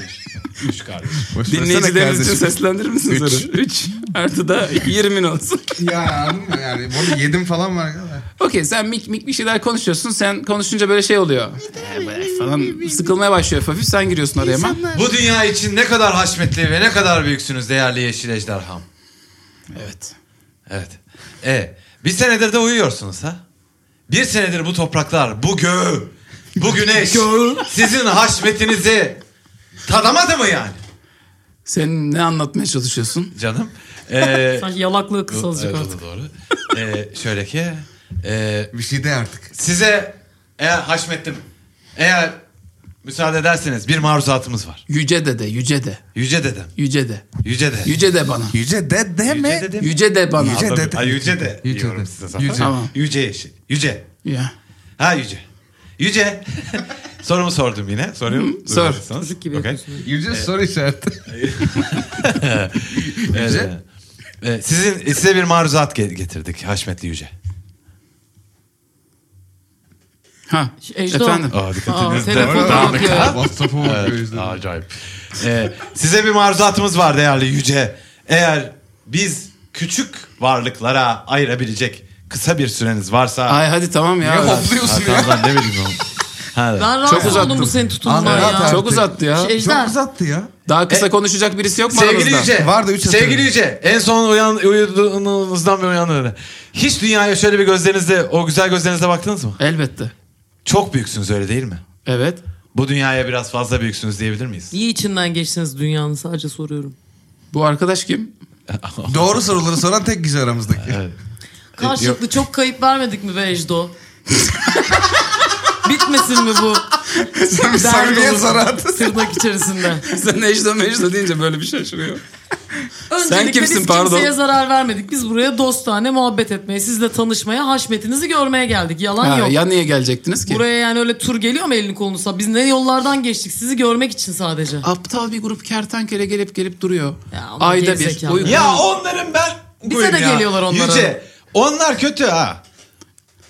Speaker 5: Üç kardeş.
Speaker 2: Boş versene
Speaker 1: Dinleyicilerimiz için
Speaker 2: kardeşim.
Speaker 1: seslendirir misiniz?
Speaker 2: Üç.
Speaker 1: 3 artı da 20 olsun.
Speaker 2: Ya anladın mı yani? Bunu yedim falan var. ya.
Speaker 1: Okey sen mik mik bir şeyler konuşuyorsun. Sen konuşunca böyle şey oluyor. "Ee, böyle falan sıkılmaya başlıyor hafif. Sen giriyorsun araya hemen.
Speaker 4: Bu dünya için ne kadar haşmetli ve ne kadar büyüksünüz değerli yeşil ejderham.
Speaker 1: Evet.
Speaker 4: Evet. E, bir senedir de uyuyorsunuz ha? Bir senedir bu topraklar, bu göğü, bu güneş sizin haşmetinizi tadamadı mı yani?
Speaker 1: Sen ne anlatmaya çalışıyorsun?
Speaker 4: Canım. E,
Speaker 3: Sanki yalaklığı
Speaker 4: bu-
Speaker 3: kısalacak
Speaker 4: evet, o
Speaker 3: artık.
Speaker 4: da doğru. E, şöyle ki e,
Speaker 2: Bir şey de artık.
Speaker 4: size eğer haşmettim eğer müsaade ederseniz bir maruzatımız var.
Speaker 1: Yüce dede, yüce de,
Speaker 4: Yüce dedem.
Speaker 1: yüce de,
Speaker 4: Yüce de.
Speaker 1: yüce de bana.
Speaker 2: Yüce de deme.
Speaker 4: Yüce dedem.
Speaker 1: Yüce de bana.
Speaker 2: Yüce-
Speaker 4: Yüce
Speaker 2: dede.
Speaker 4: de. Ha, yüce de.
Speaker 2: Yüce
Speaker 4: diyorum
Speaker 2: dede.
Speaker 4: size zaten.
Speaker 2: Yüce.
Speaker 1: Tamam.
Speaker 4: Yüce yeşil. Yüce.
Speaker 1: Ya.
Speaker 4: Ha yüce. Yüce. Sorumu sordum yine. Soruyu
Speaker 1: sor.
Speaker 4: duymadıysanız.
Speaker 3: Çocuk gibi
Speaker 4: Okey.
Speaker 3: yapıyorsunuz.
Speaker 2: Yüce soru işareti.
Speaker 4: Ee,
Speaker 2: Yüce.
Speaker 4: e, sizin size bir maruzat ge- getirdik Haşmetli Yüce.
Speaker 1: Ha.
Speaker 3: Şey, Ejder.
Speaker 1: Efendim.
Speaker 4: Aa, dikkat
Speaker 3: Aa,
Speaker 4: edin.
Speaker 3: telefon
Speaker 4: Tamam.
Speaker 3: da bakıyor.
Speaker 2: WhatsApp'a bakıyor
Speaker 4: Evet,
Speaker 2: yüzden.
Speaker 4: acayip. Ee, size bir maruzatımız var değerli yüce. Eğer biz küçük varlıklara ayırabilecek kısa bir süreniz varsa...
Speaker 1: Ay hadi tamam ya.
Speaker 4: Ha, tamam lan, ne bileyim oğlum. Ha,
Speaker 3: Ben rahatsız
Speaker 1: uzattım.
Speaker 3: oldum bu senin tutumundan
Speaker 2: Anlat
Speaker 3: ya.
Speaker 2: abi.
Speaker 1: Ee, Çok uzattı ya.
Speaker 3: Şey- Ejder.
Speaker 2: Çok uzattı ya.
Speaker 1: Daha kısa
Speaker 4: E-
Speaker 1: konuşacak birisi yok mu
Speaker 4: Sevgili
Speaker 1: aranızda?
Speaker 4: Yüce.
Speaker 2: Vardı, üç
Speaker 4: Sevgili
Speaker 2: hatırlıyorum.
Speaker 4: Yüce. En son uyan, uyuduğunuzdan beri uyandığınızda. Hiç dünyaya şöyle bir gözlerinizle, o güzel gözlerinizle baktınız mı?
Speaker 1: Elbette.
Speaker 4: Çok büyüksünüz öyle değil mi?
Speaker 1: Evet.
Speaker 4: Bu dünyaya biraz fazla büyüksünüz diyebilir miyiz?
Speaker 3: İyi içinden geçtiniz dünyanın sadece soruyorum.
Speaker 1: Bu arkadaş kim?
Speaker 2: Doğru soruları soran tek kişi aramızdaki.
Speaker 3: Karşılıklı çok kayıp vermedik mi be Ejdo? Bitmesin mi bu?
Speaker 2: Samimiyet
Speaker 3: dolu
Speaker 2: soran.
Speaker 3: Tırnak içerisinde.
Speaker 1: Sen Ejda Mejda deyince böyle bir şey şaşırıyor.
Speaker 3: Öncelikle
Speaker 1: kimsin,
Speaker 3: biz
Speaker 1: pardon?
Speaker 3: kimseye zarar vermedik. Biz buraya dostane muhabbet etmeye, sizle tanışmaya, haşmetinizi görmeye geldik. Yalan
Speaker 1: Ha,
Speaker 3: yok.
Speaker 1: ya niye gelecektiniz ki?
Speaker 3: Buraya yani öyle tur geliyor mu elini kolunu sağ? Biz ne yollardan geçtik sizi görmek için sadece.
Speaker 1: Aptal bir grup kertenkele gelip gelip duruyor.
Speaker 3: Ya ama
Speaker 1: Ayda bir.
Speaker 3: gerizekalı.
Speaker 1: Uyku-
Speaker 4: Ya onların ben...
Speaker 3: Bize de
Speaker 4: ya.
Speaker 3: geliyorlar onlara.
Speaker 4: Yüce. Onlar kötü ha.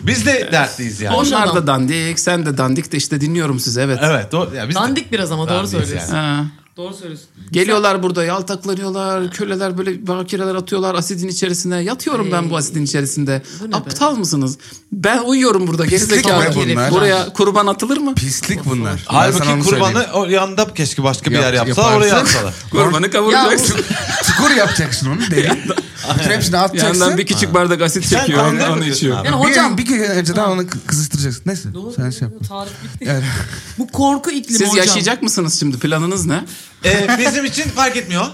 Speaker 4: Biz de dertliyiz yani.
Speaker 3: Boş
Speaker 1: Onlar
Speaker 3: adam.
Speaker 1: da dandik, sen de dandik de işte dinliyorum sizi evet.
Speaker 4: Evet. doğru. Ya biz de-
Speaker 3: Dandik biraz ama doğru
Speaker 4: Dandiyiz
Speaker 3: söylüyorsun.
Speaker 1: Ha.
Speaker 3: Doğru söylüyorsun.
Speaker 1: Geliyorlar burada yaltaklanıyorlar, köleler böyle bakireler atıyorlar asidin içerisine. Yatıyorum ben bu asidin içerisinde.
Speaker 3: Bu ne
Speaker 1: Aptal mısınız? Ben uyuyorum burada gerizekalı.
Speaker 2: Pislik
Speaker 3: bunlar.
Speaker 1: Buraya kurban atılır mı?
Speaker 2: Pislik bunlar. Ben sana
Speaker 4: Halbuki
Speaker 2: onu
Speaker 4: kurbanı
Speaker 2: söyleyeyim.
Speaker 4: o yanında keşke başka bir
Speaker 2: Yap-
Speaker 4: yer yapsalar
Speaker 2: yaparsın.
Speaker 4: oraya atsalar.
Speaker 1: Kurbanı kavuracaksın.
Speaker 2: Çukur yapacaksın onu derin. Bütün hepsini atacaksın.
Speaker 1: Yandan bir küçük bardak asit
Speaker 4: Sen
Speaker 1: çekiyor, onu,
Speaker 4: anlayamıyorsun
Speaker 1: onu içiyor.
Speaker 4: abi.
Speaker 3: Yani
Speaker 2: Bir-
Speaker 3: hocam
Speaker 2: Bir, kere önceden onu kı- kızıştıracaksın. Neyse.
Speaker 3: Doğru,
Speaker 2: Sen şey yap.
Speaker 3: doğru, tarif bitti.
Speaker 2: Yani-
Speaker 3: Bu korku iklimi
Speaker 1: Siz
Speaker 3: hocam.
Speaker 1: yaşayacak mısınız şimdi? Planınız ne?
Speaker 4: Ee, bizim için fark etmiyor.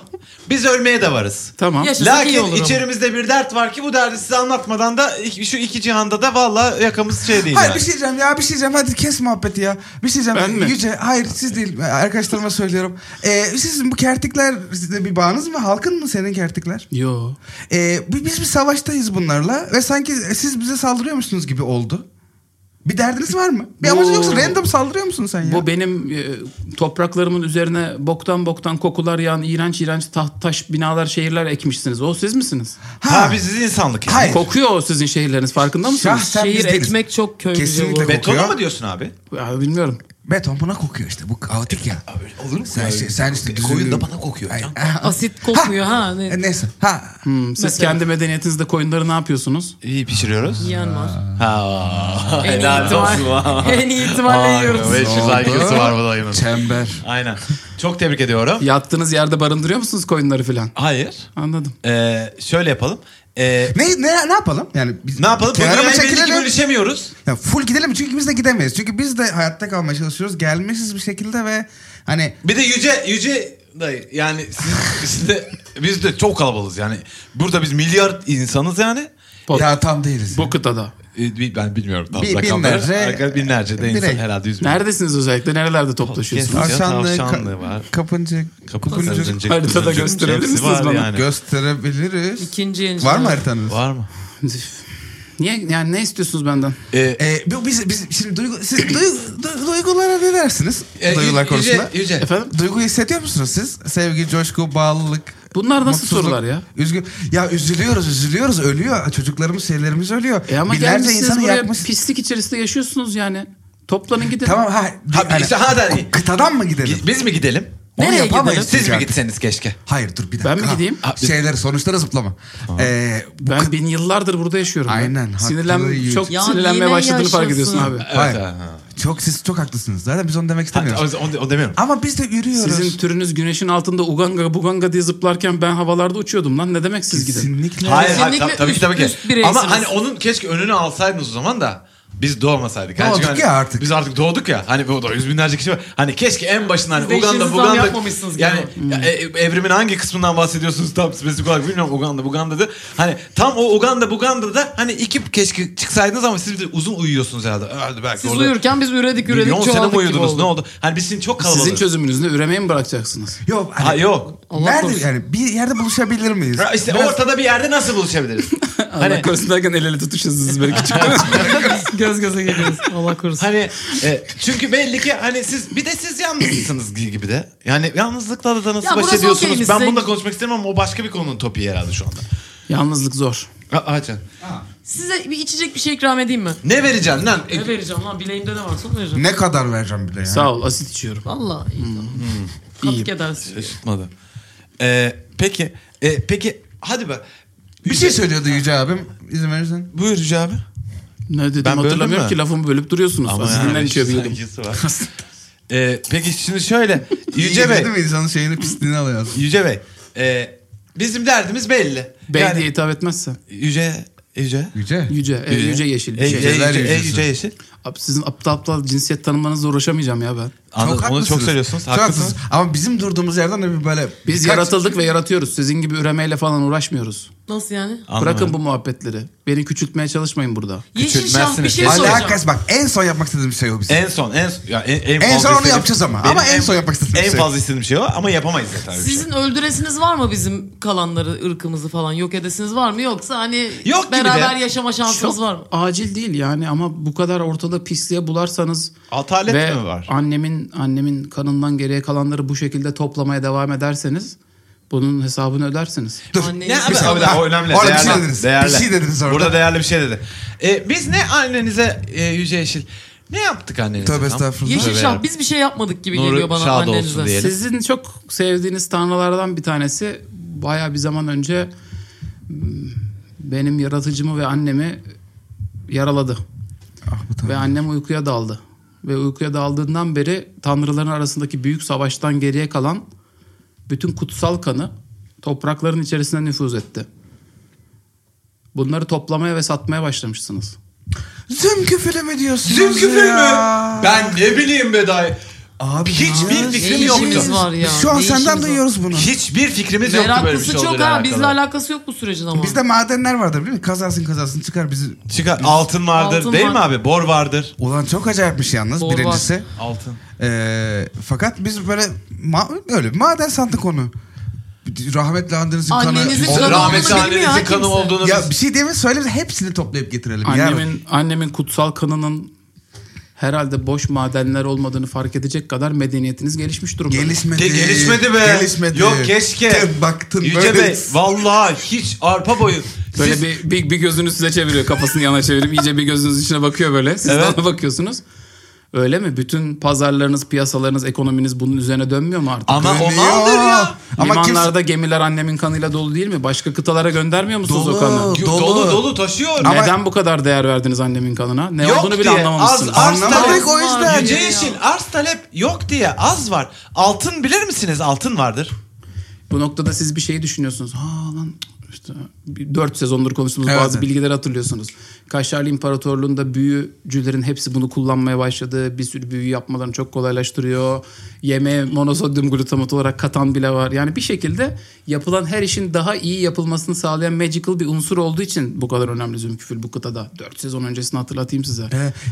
Speaker 4: Biz ölmeye de varız.
Speaker 1: Tamam.
Speaker 3: Yaşa- Size iyi
Speaker 4: Lakin
Speaker 3: olur ama.
Speaker 4: içerimizde bir dert var ki bu derdi size anlatmadan da iki- şu iki cihanda da valla yakamız şey değil.
Speaker 2: Hayır
Speaker 4: yani.
Speaker 2: bir şey diyeceğim ya bir şey diyeceğim hadi kes muhabbeti ya. Bir şey diyeceğim.
Speaker 1: Ben mi?
Speaker 2: Yüce hayır siz değil arkadaşlarıma söylüyorum. Ee, sizin bu kertikler sizde bir bağınız mı? Halkın mı senin kertikler?
Speaker 1: Yo.
Speaker 2: Ee, bi- biz bir savaştayız bunlarla ve sanki siz bize saldırıyormuşsunuz gibi oldu. Bir derdiniz var mı? Bir amacın
Speaker 1: Bu-
Speaker 2: yoksa random saldırıyor musun sen ya?
Speaker 1: Bu benim e, topraklarımın üzerine boktan boktan kokular yağan iğrenç iğrenç taht, taş binalar şehirler ekmişsiniz. O siz misiniz?
Speaker 4: Ha, biz siz insanlık yani.
Speaker 2: Hayır.
Speaker 1: Kokuyor o sizin şehirleriniz farkında mısınız?
Speaker 2: Şahsen
Speaker 3: Şehir
Speaker 2: biz değiliz.
Speaker 3: ekmek çok köy
Speaker 2: Kesinlikle
Speaker 3: Kesinlikle.
Speaker 2: be-
Speaker 4: Betona
Speaker 2: Kokuyor.
Speaker 4: mı diyorsun abi?
Speaker 1: Ya, bilmiyorum.
Speaker 2: Beton buna kokuyor işte bu kaotik ya.
Speaker 4: Olur mu?
Speaker 2: Sen, şey, sen işte düzgün-
Speaker 4: Koyun da bana kokuyor.
Speaker 2: Ay,
Speaker 4: can.
Speaker 2: ah,
Speaker 3: Asit kokmuyor ha. Ne?
Speaker 2: e, Neyse. Ha.
Speaker 1: Hmm, siz
Speaker 3: Mesela.
Speaker 1: kendi medeniyetinizde koyunları ne yapıyorsunuz?
Speaker 4: İyi pişiriyoruz.
Speaker 3: Yiyen var.
Speaker 4: Ha.
Speaker 3: En iyi ihtimal. en iyi ihtimalle
Speaker 4: Vay be,
Speaker 3: yiyoruz.
Speaker 4: beş yüz
Speaker 2: Oldu.
Speaker 4: IQ'su var bu dayının.
Speaker 2: Çember.
Speaker 4: Aynen. Çok tebrik ediyorum.
Speaker 1: Yattığınız yerde barındırıyor musunuz koyunları filan?
Speaker 4: Hayır.
Speaker 1: Anladım.
Speaker 4: Ee, şöyle yapalım. Ee,
Speaker 2: Ne, ne, ne yapalım? Yani biz
Speaker 4: ne yapalım? Bu
Speaker 2: kenara mı
Speaker 4: dünyayı belli ki
Speaker 2: çekilelim?
Speaker 4: bölüşemiyoruz.
Speaker 2: Ya full gidelim çünkü biz de gidemeyiz. Çünkü biz de hayatta kalmaya çalışıyoruz. Gelmişiz bir şekilde ve hani
Speaker 4: Bir de yüce yüce dayı yani siz, siz de biz de çok kalabalığız yani. Burada biz milyar insanız yani.
Speaker 1: Bak.
Speaker 2: ya tam değiliz.
Speaker 1: Bu kıtada.
Speaker 4: Ee, bi- Ben bilmiyorum tam
Speaker 2: Bi-
Speaker 4: rakamları.
Speaker 2: binlerce-
Speaker 4: Arkadaş binlerce de insan
Speaker 2: Birey.
Speaker 4: herhalde yüz bin.
Speaker 1: Neredesiniz özellikle? Nerelerde toplaşıyorsunuz?
Speaker 4: Kesin.
Speaker 2: Tavşanlı,
Speaker 4: Tavşanlı
Speaker 2: ka-
Speaker 4: var.
Speaker 2: kapıncı,
Speaker 4: Kapıcı,
Speaker 2: kapıncı
Speaker 4: zıncı,
Speaker 1: Haritada
Speaker 4: zıncı,
Speaker 1: gösterebilir
Speaker 4: hepsi
Speaker 1: misiniz
Speaker 4: var
Speaker 1: bana?
Speaker 2: gösterebiliriz.
Speaker 3: İkinci yeni.
Speaker 2: Var mı haritanız?
Speaker 4: Var mı?
Speaker 1: Üf. Niye yani ne istiyorsunuz benden?
Speaker 4: Ee,
Speaker 2: Ee, bu- biz, biz şimdi duygu, siz duygu- du- duygulara ne dersiniz? Ee, e, Duygular konusunda.
Speaker 4: e, Yüce, yüce.
Speaker 1: Efendim?
Speaker 2: Duygu hissediyor musunuz siz? Sevgi, coşku, bağlılık.
Speaker 1: Bunlar nasıl
Speaker 2: mutsuzluk,
Speaker 1: sorular ya?
Speaker 2: Üzgün. Ya üzülüyoruz, üzülüyoruz. Ölüyor. Çocuklarımız, şeylerimiz ölüyor.
Speaker 1: E ama
Speaker 2: Binlerce
Speaker 1: gelmişsiniz
Speaker 2: insanı
Speaker 1: buraya
Speaker 2: yakmış.
Speaker 1: pislik içerisinde yaşıyorsunuz yani. Toplanın gidin.
Speaker 2: Tamam ha.
Speaker 4: Ha,
Speaker 2: hani-
Speaker 4: biz- ha da-
Speaker 2: kı- kıtadan mı gidelim?
Speaker 4: Biz mi gidelim?
Speaker 2: Onu
Speaker 3: Nereye
Speaker 2: yapamayız
Speaker 3: gidelim?
Speaker 2: biz
Speaker 4: Siz mi
Speaker 2: artık.
Speaker 4: gitseniz keşke?
Speaker 2: Hayır dur bir dakika.
Speaker 1: Ben mi gideyim?
Speaker 2: Ha, Şeyler sonuçlara zıplama. Ee, bu
Speaker 1: Ben
Speaker 2: kı-
Speaker 1: bin yıllardır burada yaşıyorum. ben.
Speaker 2: Aynen, haklı
Speaker 1: Sinirlen,
Speaker 2: Yüce.
Speaker 1: çok
Speaker 3: Ya
Speaker 1: sinirlenmeye
Speaker 3: yine
Speaker 1: başladığını fark ediyorsun
Speaker 3: yaşlısın.
Speaker 1: abi.
Speaker 2: Hayır.
Speaker 4: Evet, ha.
Speaker 2: Çok siz çok haklısınız. Zaten biz onu demek
Speaker 4: Ha,
Speaker 2: istemiyoruz.
Speaker 4: o, o- o demiyorum.
Speaker 2: Ama biz de yürüyoruz.
Speaker 1: Sizin türünüz güneşin altında uganga buganga diye zıplarken ben havalarda uçuyordum lan. Ne demek siz gidin?
Speaker 2: Kesinlikle.
Speaker 4: Hayır, hayır
Speaker 3: Kesinlikle
Speaker 4: tab- tabii ki
Speaker 3: üst-
Speaker 4: tabii ki.
Speaker 3: üst bireysiniz.
Speaker 4: Ama hani onun keşke önünü alsaydınız o zaman da biz doğmasaydık. Yani
Speaker 2: Doğduk
Speaker 4: çünkü
Speaker 2: ya
Speaker 4: hani
Speaker 2: artık.
Speaker 4: Biz artık doğduk ya. Hani bu da yüz binlerce kişi var. Hani keşke en başından
Speaker 3: de
Speaker 4: hani Uganda,
Speaker 3: işinizi tam
Speaker 4: Buganda.
Speaker 3: yapmamışsınız
Speaker 4: Yani
Speaker 3: gibi.
Speaker 4: ya, e- evrimin hangi kısmından bahsediyorsunuz tam spesifik olarak bilmiyorum. Uganda, Buganda'da. Hani tam o Uganda, Buganda'da hani iki keşke çıksaydınız ama siz bir de uzun uyuyorsunuz herhalde. Herhalde belki
Speaker 3: Siz
Speaker 4: orada
Speaker 3: uyurken biz üredik üredik
Speaker 4: milyon sene
Speaker 3: çoğaldık
Speaker 4: mi
Speaker 3: gibi
Speaker 4: uyudunuz?
Speaker 3: oldu.
Speaker 4: Ne oldu? Hani biz sizin çok kalabalık.
Speaker 1: Sizin çözümünüz ne? Üremeyi mi bırakacaksınız?
Speaker 2: Yok. hani-
Speaker 4: Ha yok.
Speaker 3: Allah
Speaker 2: Nerede
Speaker 3: korusun.
Speaker 2: yani bir yerde buluşabilir miyiz?
Speaker 4: Ya İşte
Speaker 2: Biraz-
Speaker 4: ortada bir yerde nasıl buluşabiliriz?
Speaker 1: Allah
Speaker 4: hani
Speaker 1: korusun derken el ele tutuşuyorsunuz böyle küçük.
Speaker 3: Göz göze geliyoruz. Allah korusun.
Speaker 4: Hani e, çünkü belli ki hani siz bir de siz yalnızsınız gibi de. Yani yalnızlıkla da nasıl
Speaker 3: Ya
Speaker 4: baş
Speaker 3: burası
Speaker 4: ediyorsunuz?
Speaker 3: okeyimiz,
Speaker 4: ben
Speaker 3: zevk-
Speaker 4: bunu da konuşmak istemem ama o başka bir konunun topiği herhalde şu anda.
Speaker 1: Yalnızlık zor.
Speaker 4: Aa, can.
Speaker 3: Size bir içecek bir şey ikram edeyim mi?
Speaker 4: Ne vereceksin lan? E,
Speaker 3: Ne vereceğim lan bileğimde ne varsa onu vereceğim.
Speaker 2: Ne kadar vereceğim bile ya.
Speaker 1: Sağ ol asit içiyorum.
Speaker 3: Vallahi iyi
Speaker 4: Hmm.
Speaker 3: tamam. Katkı edersin.
Speaker 4: Şaşırtmadı. Ee, peki. E, peki hadi be.
Speaker 2: Bir şey söylüyordu Yüce abim. İzin verirsen.
Speaker 4: Buyur Yüce abi.
Speaker 1: Ne dedim
Speaker 4: Ben böldüm
Speaker 1: hatırlamıyorum
Speaker 4: mü?
Speaker 1: ki lafımı bölüp duruyorsunuz. Ama Azizimden
Speaker 4: yani
Speaker 1: içiyor bildim.
Speaker 4: sancısı var. Ee, peki şimdi şöyle. Yüce Bey.
Speaker 2: Değil mi? İnsanın şeyini pisliğini alıyor.
Speaker 4: Yüce Bey. e, bizim derdimiz belli.
Speaker 1: Bey
Speaker 4: Yani-
Speaker 1: diye hitap etmezse.
Speaker 4: Yüce. Yüce.
Speaker 2: Yüce.
Speaker 1: Yüce, e, yüce yeşil.
Speaker 4: E, e,
Speaker 1: Yüce.
Speaker 4: yüce,
Speaker 2: Yüceler
Speaker 4: e,
Speaker 2: yücesi.
Speaker 4: yüce yeşil.
Speaker 1: Abi sizin aptal aptal cinsiyet tanımlarınızla uğraşamayacağım ya ben.
Speaker 4: Anladım. Onu çok söylüyorsunuz.
Speaker 2: Çok
Speaker 4: Haklısınız.
Speaker 2: Ama bizim durduğumuz yerden de bir böyle...
Speaker 1: Biz
Speaker 2: birkaç-
Speaker 1: yaratıldık ve yaratıyoruz. Sizin gibi üremeyle falan uğraşmıyoruz.
Speaker 3: Nasıl yani?
Speaker 1: Bırakın bu muhabbetleri. Beni küçültmeye çalışmayın burada.
Speaker 3: Yeşil şah bir
Speaker 4: Küçültmezsiniz.
Speaker 3: şey
Speaker 4: Hadi
Speaker 2: Ali
Speaker 3: soracağım.
Speaker 2: Hakkas bak en son yapmak istediğim şey o bizim.
Speaker 4: En son en ya en, en,
Speaker 2: En son
Speaker 4: fazla
Speaker 2: onu
Speaker 4: istediğim-
Speaker 2: yapacağız ama. Ama en son yapmak istediğim
Speaker 4: en
Speaker 2: şey.
Speaker 4: fazla istediğim şey o ama yapamayız zaten. öyle bir şey.
Speaker 3: Sizin öldüresiniz var mı bizim kalanları, ırkımızı falan yok edesiniz var mı? Yoksa hani
Speaker 4: Yok gibi
Speaker 3: beraber
Speaker 4: de.
Speaker 3: yaşama şansımız var mı?
Speaker 1: acil değil yani ama bu kadar ortada pisliğe bularsanız
Speaker 4: Atalet
Speaker 1: ve
Speaker 4: mi var?
Speaker 1: annemin annemin kanından geriye kalanları bu şekilde toplamaya devam ederseniz bunun hesabını ödersiniz.
Speaker 2: Dur.
Speaker 3: Anne-
Speaker 4: Ne
Speaker 3: Bir
Speaker 4: abi
Speaker 3: saniye.
Speaker 4: abi
Speaker 2: Ha,
Speaker 4: o önemli.
Speaker 2: orada bir şey
Speaker 4: değerli,
Speaker 2: dediniz.
Speaker 4: Değerli.
Speaker 2: Bir şey dediniz orada.
Speaker 4: Burada değerli bir şey dedi. E, biz ne annenize e, Yüce Yeşil ne yaptık annenize?
Speaker 2: Tövbe
Speaker 4: tam?
Speaker 2: estağfurullah.
Speaker 3: Yeşil
Speaker 4: Tövbe
Speaker 3: şah
Speaker 4: yarabbim.
Speaker 3: biz bir şey yapmadık gibi
Speaker 4: Nuru
Speaker 3: geliyor bana
Speaker 4: şad olsun
Speaker 3: annenize.
Speaker 4: diye. Diyelim.
Speaker 1: Sizin çok sevdiğiniz tanrılardan bir tanesi bayağı bir zaman önce m, benim yaratıcımı ve annemi yaraladı.
Speaker 2: Ah bu
Speaker 1: Ve
Speaker 2: tamam.
Speaker 1: annem uykuya daldı. Ve uykuya daldığından beri tanrıların arasındaki büyük savaştan geriye kalan bütün kutsal kanı toprakların içerisine nüfuz etti. Bunları toplamaya ve satmaya başlamışsınız.
Speaker 2: Züm küfürü mü diyorsunuz
Speaker 4: Bizim küfür mü?
Speaker 2: ya?
Speaker 4: Ben ne bileyim be dayı.
Speaker 2: Abi
Speaker 4: Hiçbir
Speaker 2: ya,
Speaker 4: fikrim
Speaker 2: ne
Speaker 4: yoktu.
Speaker 2: işiniz-
Speaker 3: Var ya,
Speaker 2: Şu an
Speaker 3: ne
Speaker 2: senden
Speaker 3: işiniz var?
Speaker 2: duyuyoruz bunu.
Speaker 4: Hiçbir fikrimiz yoktu böyle bir
Speaker 3: Meraklısı
Speaker 4: şey
Speaker 3: çok
Speaker 4: olduğuyla
Speaker 3: ha
Speaker 4: alakalı.
Speaker 3: bizle alakası yok bu sürecin ama.
Speaker 2: Bizde madenler vardır değil mi? Kazarsın kazarsın çıkar bizi.
Speaker 4: Çıkar, altın vardır
Speaker 3: Altın
Speaker 4: değil mi
Speaker 3: var.
Speaker 4: abi? Bor vardır.
Speaker 2: Ulan çok acayipmiş yalnız
Speaker 3: Doğru
Speaker 2: birincisi.
Speaker 4: Altın.
Speaker 2: Ee, fakat biz böyle ma- öyle maden sandık onu. Rahmetli annenizin kanı.
Speaker 3: Annenizin
Speaker 2: O-
Speaker 3: kanı
Speaker 4: Rahmetli
Speaker 3: olduğunu bilmiyor
Speaker 4: annenizin
Speaker 3: ha
Speaker 4: kanı
Speaker 3: kimse.
Speaker 4: olduğunu
Speaker 2: Ya
Speaker 4: biz-
Speaker 2: bir şey diyemez söyle biz hepsini toplayıp getirelim.
Speaker 1: Annemin
Speaker 2: Yarın.
Speaker 1: annemin kutsal kanının herhalde boş madenler olmadığını fark edecek kadar medeniyetiniz gelişmiş durumda.
Speaker 2: Gelişmedi.
Speaker 4: Ge- şey gelişmedi be.
Speaker 2: Gelişmedi.
Speaker 4: Yok keşke.
Speaker 2: Te- baktın
Speaker 4: Yüce
Speaker 2: böyle.
Speaker 4: Bey vallahi hiç arpa boyu.
Speaker 1: Böyle
Speaker 4: Siz-
Speaker 1: bir, bir, bir gözünü size çeviriyor. Kafasını yana çevirip iyice bir gözünüz içine bakıyor böyle. Siz
Speaker 4: Evet.
Speaker 1: de ona bakıyorsunuz. Öyle mi? Bütün pazarlarınız, piyasalarınız, ekonominiz bunun üzerine dönmüyor mu artık?
Speaker 4: Ama
Speaker 2: Dönüyor.
Speaker 4: onaldır ya.
Speaker 2: Ama
Speaker 1: Limanlarda gemiler annemin kanıyla dolu değil mi? Başka kıtalara göndermiyor musunuz
Speaker 2: Dolu.
Speaker 1: o kanı?
Speaker 2: Yok.
Speaker 4: Dolu
Speaker 2: Dolu.
Speaker 4: dolu, taşıyor.
Speaker 2: Ama-
Speaker 1: Neden bu kadar değer verdiniz annemin kanına? Ne
Speaker 4: Yok
Speaker 1: olduğunu bile
Speaker 4: diye.
Speaker 1: anlamamışsınız.
Speaker 4: Az- az-
Speaker 2: Anlamadık o yüzden.
Speaker 4: Yüce
Speaker 3: Ya.
Speaker 4: Yeşil arz talep yok diye az var. Altın bilir misiniz? Altın vardır.
Speaker 1: Bu noktada siz bir şeyi düşünüyorsunuz. Ha lan işte bir- dört sezondur konuştuğumuz
Speaker 2: Evet.
Speaker 1: bazı bilgileri hatırlıyorsunuz. Kaşgarlı İmparatorluğu'nda büyücülerin hepsi bunu kullanmaya başladı. Bir sürü büyü yapmalarını çok kolaylaştırıyor. Yemeğe monosodyum glutamat olarak katan bile var. Yani bir şekilde yapılan her işin daha iyi yapılmasını sağlayan magical bir unsur olduğu için bu kadar önemli zümküfül bu kıtada. Dört sezon öncesini hatırlatayım size.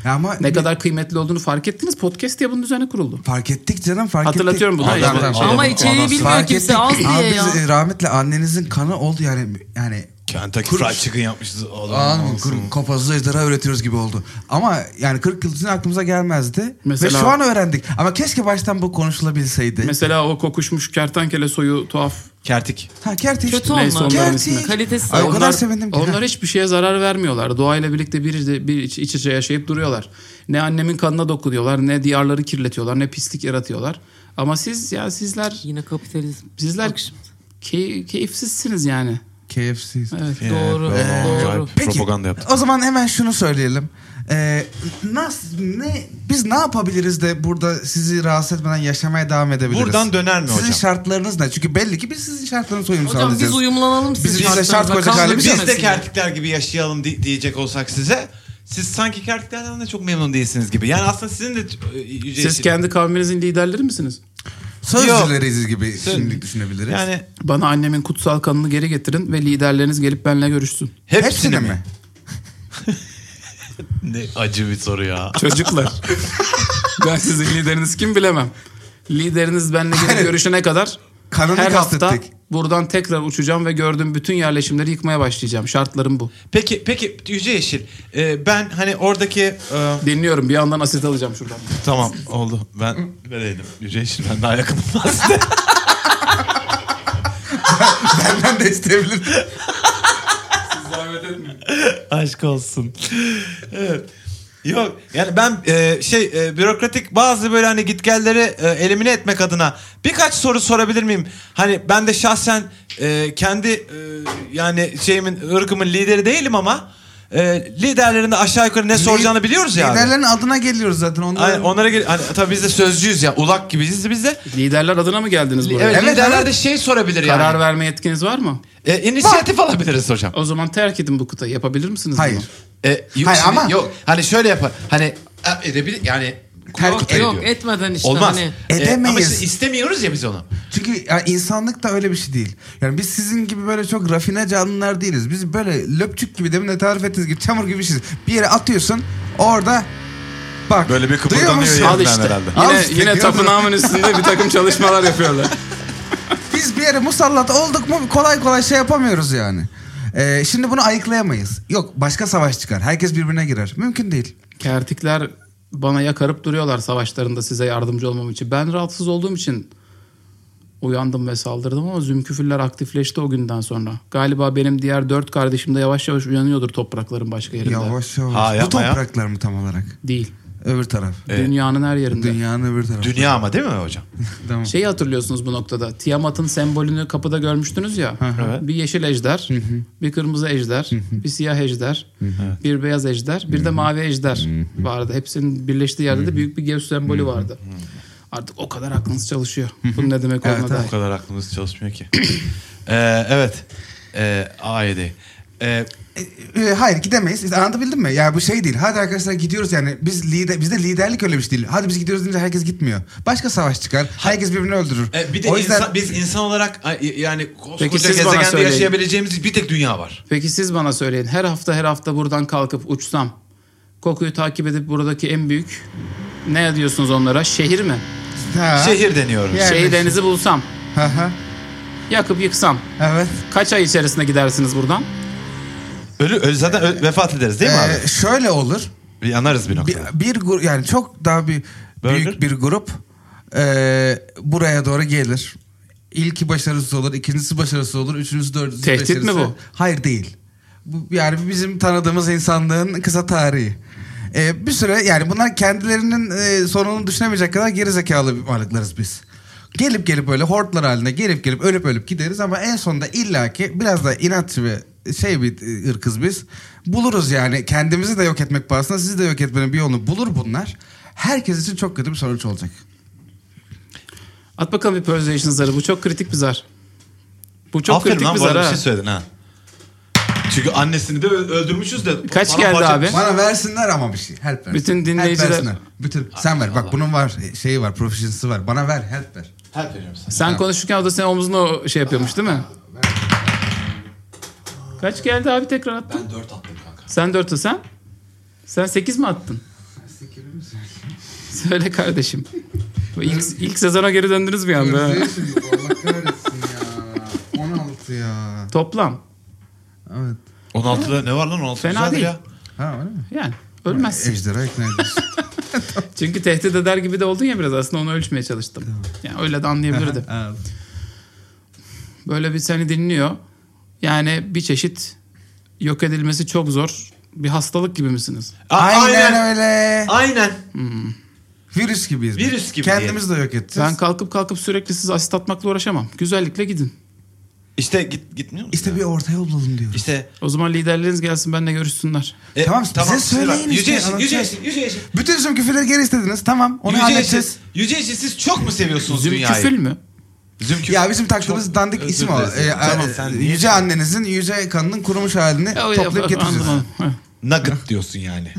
Speaker 2: Ee, ama
Speaker 1: Ne kadar kıymetli olduğunu fark ettiniz. Podcast diye bunun üzerine kuruldu.
Speaker 2: Fark ettik canım fark ettik.
Speaker 1: Hatırlatıyorum bunu.
Speaker 2: Tamam,
Speaker 1: Ama-
Speaker 2: tamam,
Speaker 4: ama
Speaker 2: tamam.
Speaker 3: içeriği
Speaker 2: Tamam.
Speaker 3: bilmiyor
Speaker 2: Fark
Speaker 3: kimse,
Speaker 2: ettik.
Speaker 3: az diye
Speaker 2: Abi
Speaker 3: ya.
Speaker 2: biz, e, rahmetli annenizin kanı oldu yani yani
Speaker 4: Kentucky
Speaker 2: Kuruş.
Speaker 4: Fried Chicken yapmışız. Oğlum,
Speaker 2: Anladın mı?
Speaker 4: olsun.
Speaker 2: Kır- Kafasız ejderha üretiyoruz gibi oldu. Ama yani 40 yıl için aklımıza gelmezdi.
Speaker 1: Mesela-
Speaker 2: Ve şu an öğrendik. Ama keşke baştan bu konuşulabilseydi.
Speaker 1: Mesela o kokuşmuş kertenkele soyu tuhaf
Speaker 4: Kertik.
Speaker 2: ha kerteş.
Speaker 3: Kötü
Speaker 1: Neyse
Speaker 3: onlar.
Speaker 1: onların
Speaker 2: Gerçi-
Speaker 1: ismi.
Speaker 3: Kalitesiz.
Speaker 2: Ay, o
Speaker 1: Onlar-
Speaker 2: kadar sevindim ki.
Speaker 1: Onlar hiçbir şeye zarar vermiyorlar. Doğayla birlikte bir, bir iç, iç içe yaşayıp duruyorlar. Ne annemin kanına dokunuyorlar, ne diyarları kirletiyorlar, ne pislik yaratıyorlar. Ama siz ya sizler
Speaker 3: Yine kapitalizm.
Speaker 1: sizler
Speaker 3: Bak şimdi.
Speaker 1: key- keyifsizsiniz yani.
Speaker 2: KFC.
Speaker 1: Evet.
Speaker 4: Ee,
Speaker 3: Doğru. doğru.
Speaker 2: Peki, O zaman hemen şunu söyleyelim. Ee, nasıl ne biz ne yapabiliriz de burada sizi rahatsız etmeden yaşamaya devam edebiliriz?
Speaker 4: Buradan döner mi
Speaker 2: sizin
Speaker 4: hocam?
Speaker 2: şartlarınız ne? Çünkü belli ki biz sizin şartlarınızı uyum
Speaker 3: Hocam biz
Speaker 2: sağlayacağız.
Speaker 3: uyumlanalım sizin
Speaker 2: Biz bize şart
Speaker 3: şartlarınıza,
Speaker 2: koyacak
Speaker 3: kavga
Speaker 2: halimiz yok.
Speaker 4: Biz de
Speaker 3: edemezsiniz.
Speaker 4: kertikler gibi yaşayalım di- diyecek olsak size. Siz sanki kertiklerden de çok memnun değilsiniz gibi. Yani aslında sizin de e, Yüce
Speaker 1: Siz
Speaker 4: Yeşil-
Speaker 1: kendi kavminizin liderleri misiniz?
Speaker 2: Sözcüleriz gibi şimdilik düşünebiliriz.
Speaker 4: Yani
Speaker 1: Bana annemin kutsal kanını geri getirin ve liderleriniz gelip benimle görüşsün.
Speaker 4: hepsini,
Speaker 2: Hepsine
Speaker 4: mi?
Speaker 2: mi?
Speaker 4: Ne acı bir soru ya.
Speaker 1: Çocuklar. ben sizin lideriniz kim bilemem. Lideriniz benimle gelip
Speaker 2: Hayır.
Speaker 1: görüşene kadar
Speaker 2: Kanını
Speaker 1: her hafta
Speaker 2: kastettik.
Speaker 1: buradan tekrar uçacağım ve gördüğüm bütün yerleşimleri yıkmaya başlayacağım. Şartlarım bu.
Speaker 4: Peki peki Yüce Yeşil e, ben hani oradaki e,
Speaker 1: Dinliyorum. Bir yandan asit alacağım şuradan.
Speaker 4: tamam oldu ben vereydim Yüce Yeşil ben daha yakınım.
Speaker 2: Benden de isteyebilir.
Speaker 5: zahmet etmeyin.
Speaker 4: Aşk olsun. evet. Yok yani ben e, şey e, bürokratik bazı böyle hani gitgelleri e, elimine etmek adına birkaç soru sorabilir miyim? Hani ben de şahsen e, kendi e, yani şeyimin ırkımın lideri değilim ama e, liderlerin de aşağı yukarı ne soracağını biliyoruz yani.
Speaker 2: Liderlerin adına geliyoruz zaten. Onların...
Speaker 4: Aynen, onlara gel hani, tabii biz de sözcüyüz ya ulak gibiyiz biz de.
Speaker 1: Liderler adına mı geldiniz buraya?
Speaker 4: Evet,
Speaker 2: Evet,
Speaker 4: liderler
Speaker 2: evet.
Speaker 4: de şey sorabilir
Speaker 1: Karar
Speaker 4: yani.
Speaker 1: verme yetkiniz var mı?
Speaker 4: E, inisiyatif alabiliriz hocam.
Speaker 1: O zaman terk edin bu kıtayı. Yapabilir misiniz
Speaker 2: Hayır.
Speaker 1: bunu?
Speaker 4: E, yok,
Speaker 2: Hayır
Speaker 4: şimdi-
Speaker 2: ama-
Speaker 4: yok hani şöyle yapar. Hani e, edebilir yani
Speaker 2: Terk
Speaker 4: kutayı
Speaker 3: Yok
Speaker 4: diyor.
Speaker 3: etmeden işte.
Speaker 4: Olmaz.
Speaker 3: Hani,
Speaker 4: E, ama
Speaker 2: Edemeyiz.
Speaker 4: işte istemiyoruz ya biz onu.
Speaker 2: Çünkü ya insanlık da öyle bir şey değil. Yani biz sizin gibi böyle çok rafine canlılar değiliz. Biz böyle löpçük gibi demin de tarif ettiğiniz gibi çamur gibi bir şeyiz. Bir yere atıyorsun orada bak.
Speaker 4: Böyle bir kıpırdanıyor
Speaker 2: duyuyor musun?
Speaker 4: ya.
Speaker 1: Al
Speaker 4: Yerinden
Speaker 1: işte.
Speaker 4: herhalde.
Speaker 2: Al
Speaker 1: Yine,
Speaker 2: işte,
Speaker 1: yine
Speaker 2: gördün mü?
Speaker 1: tapınağımın üstünde bir takım çalışmalar yapıyorlar.
Speaker 2: Biz bir yere musallat olduk mu kolay kolay şey yapamıyoruz yani. Ee, şimdi bunu ayıklayamayız. Yok başka savaş çıkar. Herkes birbirine girer. Mümkün değil.
Speaker 1: Kertikler bana yakarıp duruyorlar savaşlarında size yardımcı olmam için. Ben rahatsız olduğum için uyandım ve saldırdım ama zümküfürler aktifleşti o günden sonra. Galiba benim diğer dört kardeşim de yavaş yavaş uyanıyordur toprakların başka yerinde.
Speaker 2: Yavaş yavaş.
Speaker 4: Ha,
Speaker 2: Bu
Speaker 4: yapma ya.
Speaker 2: topraklar mı tam olarak?
Speaker 1: Değil.
Speaker 2: Öbür taraf.
Speaker 4: Evet.
Speaker 1: Dünyanın her yerinde.
Speaker 2: Dünyanın öbür tarafı.
Speaker 4: Dünya ama değil mi hocam?
Speaker 2: Tamam.
Speaker 1: Şeyi hatırlıyorsunuz bu noktada. Tiamat'ın sembolünü kapıda görmüştünüz ya.
Speaker 4: hı.
Speaker 1: Bir yeşil ejder, bir kırmızı ejder, bir siyah ejder, bir beyaz ejder, bir de mavi ejder vardı. Hepsinin birleştiği yerde de büyük bir Zeus sembolü vardı. Artık o kadar aklınız çalışıyor. Bunun ne demek
Speaker 2: Evet,
Speaker 1: olduğuna
Speaker 2: evet.
Speaker 1: dair.
Speaker 4: O kadar aklımız çalışmıyor ki. Ee, evet. Ee, AYD. Ee,
Speaker 2: E, e, hayır gidemeyiz. İşte Anlatabildim mi? Yani bu şey değil. Hadi arkadaşlar gidiyoruz yani. Biz lider, bizde liderlik öyle bir şey değil. Hadi biz gidiyoruz deyince herkes gitmiyor. Başka savaş çıkar. Herkes birbirini öldürür.
Speaker 4: e, bir de
Speaker 2: o yüzden
Speaker 4: insan, biz insan olarak ay, yani koskoca
Speaker 1: Peki siz bana
Speaker 4: gezegende
Speaker 1: söyleyin.
Speaker 4: yaşayabileceğimiz bir tek dünya var.
Speaker 1: Peki siz bana söyleyin. Her hafta her hafta buradan kalkıp uçsam. Kokuyu takip edip buradaki en büyük ne diyorsunuz onlara? Şehir mi?
Speaker 2: Ha,
Speaker 4: Şehir deniyoruz.
Speaker 2: Yani-
Speaker 1: Şehir denizi bulsam.
Speaker 2: ha, ha.
Speaker 1: Yakıp yıksam.
Speaker 2: evet.
Speaker 1: Kaç ay içerisinde gidersiniz buradan?
Speaker 4: Ölü, ölü zaten ö- vefat ederiz değil mi abi?
Speaker 2: Ee, şöyle olur.
Speaker 4: Bir yanarız bir
Speaker 2: Bir,
Speaker 4: noktada.
Speaker 2: bir gru- yani çok daha bir
Speaker 4: Burger?
Speaker 2: büyük bir grup e, buraya doğru gelir. İlki başarısız olur, ikincisi başarısız olur, üçüncüsü, dördüncüsü,
Speaker 1: Tehdit mi
Speaker 2: beşincisi-
Speaker 1: bu?
Speaker 2: Hayır değil. Bu, yani bizim tanıdığımız insanlığın kısa tarihi. E, bir süre yani bunlar kendilerinin e, sonunu düşünemeyecek kadar geri zekalı varlıklarız biz. Gelip gelip böyle hortlar halinde gelip gelip ölüp ölüp gideriz ama en sonunda illaki biraz da inatçı ve şey bir e, ırkız biz. Buluruz yani kendimizi de yok etmek pahasına sizi de yok etmenin bir yolunu bulur bunlar. Herkes için çok kötü bir sonuç olacak.
Speaker 1: At bakalım bir persuasion zarı. Bu çok kritik bir zar. Bu çok
Speaker 4: Aferin
Speaker 1: kritik
Speaker 4: lan
Speaker 1: bir
Speaker 4: bu
Speaker 1: zar
Speaker 4: arada bir
Speaker 1: ha.
Speaker 4: şey söyledin ha. Çünkü annesini de ö- öldürmüşüz de.
Speaker 1: Kaç
Speaker 4: Bana
Speaker 1: geldi
Speaker 4: parça-
Speaker 1: abi?
Speaker 2: Bana versinler ama bir şey. Help ver.
Speaker 1: Bütün
Speaker 2: Help
Speaker 1: dinleyiciler-
Speaker 2: versinler. Bütün, sen ver. Bak bunun var şeyi var. Profesyonelisi var. Bana ver. Help ver.
Speaker 4: Her veriyorum sana.
Speaker 1: Sen konuşurken o da senin omzuna o şey yapıyormuş değil mi? Kaç geldi abi tekrar attın?
Speaker 4: Ben dört attım kanka.
Speaker 1: Sen 4 sen? Sen 8 mi attın? Söyle kardeşim. Bu İlk, ilk sezona geri döndünüz bir anda. ha.
Speaker 2: şey Allah kahretsin ya. 16 ya.
Speaker 1: Toplam.
Speaker 2: Evet.
Speaker 4: 16'da ne var lan 16
Speaker 1: Fena
Speaker 4: güzeldir
Speaker 1: değil.
Speaker 4: ya.
Speaker 2: Ha öyle mi?
Speaker 1: Yani ölmezsin.
Speaker 2: Ejderha ikna ediyorsun.
Speaker 1: Çünkü tehdit eder gibi de oldun ya biraz. Aslında onu ölçmeye çalıştım. Yani öyle de anlayabilirdim.
Speaker 2: Evet.
Speaker 1: böyle bir seni dinliyor. Yani bir çeşit yok edilmesi çok zor. Bir hastalık gibi misiniz?
Speaker 4: A-
Speaker 2: Aynen, öyle.
Speaker 4: Aynen.
Speaker 2: Virüs gibiyiz. biz.
Speaker 4: Virüs gibi
Speaker 2: Kendimiz de yok edeceğiz.
Speaker 1: Ben kalkıp kalkıp sürekli sizi asit atmakla uğraşamam. Güzellikle gidin.
Speaker 4: İşte git, gitmiyor musun?
Speaker 2: İşte bir orta yol bulalım diyoruz.
Speaker 4: İşte
Speaker 1: O zaman liderleriniz gelsin benimle görüşsünler.
Speaker 4: E,
Speaker 2: Tamam, bize söyleyin
Speaker 4: Yüce
Speaker 2: işte,
Speaker 4: Yeşil, Yüce
Speaker 2: anlatacak.
Speaker 4: Yeşil, Yüce Yeşil.
Speaker 2: Bütün bizim küfürleri geri istediniz. Tamam. Onu
Speaker 4: Yüce Yeşil,
Speaker 2: halledeceğiz.
Speaker 4: Yüce Yeşil siz çok mu seviyorsunuz dünyayı?
Speaker 1: Zümküfül mü?
Speaker 4: Zümküfül.
Speaker 2: Ya bizim taktığımız
Speaker 4: Çok
Speaker 2: dandik
Speaker 4: özür
Speaker 2: isim o.
Speaker 4: dilerim.
Speaker 2: Ee,
Speaker 4: Tamam,
Speaker 2: e,
Speaker 4: sen niye-
Speaker 2: yüce annenizin yüce kanının kurumuş halini
Speaker 1: Ya, o yap-
Speaker 2: toplayıp getireceğiz.
Speaker 1: anlamadım. Heh.
Speaker 4: Nugget diyorsun yani.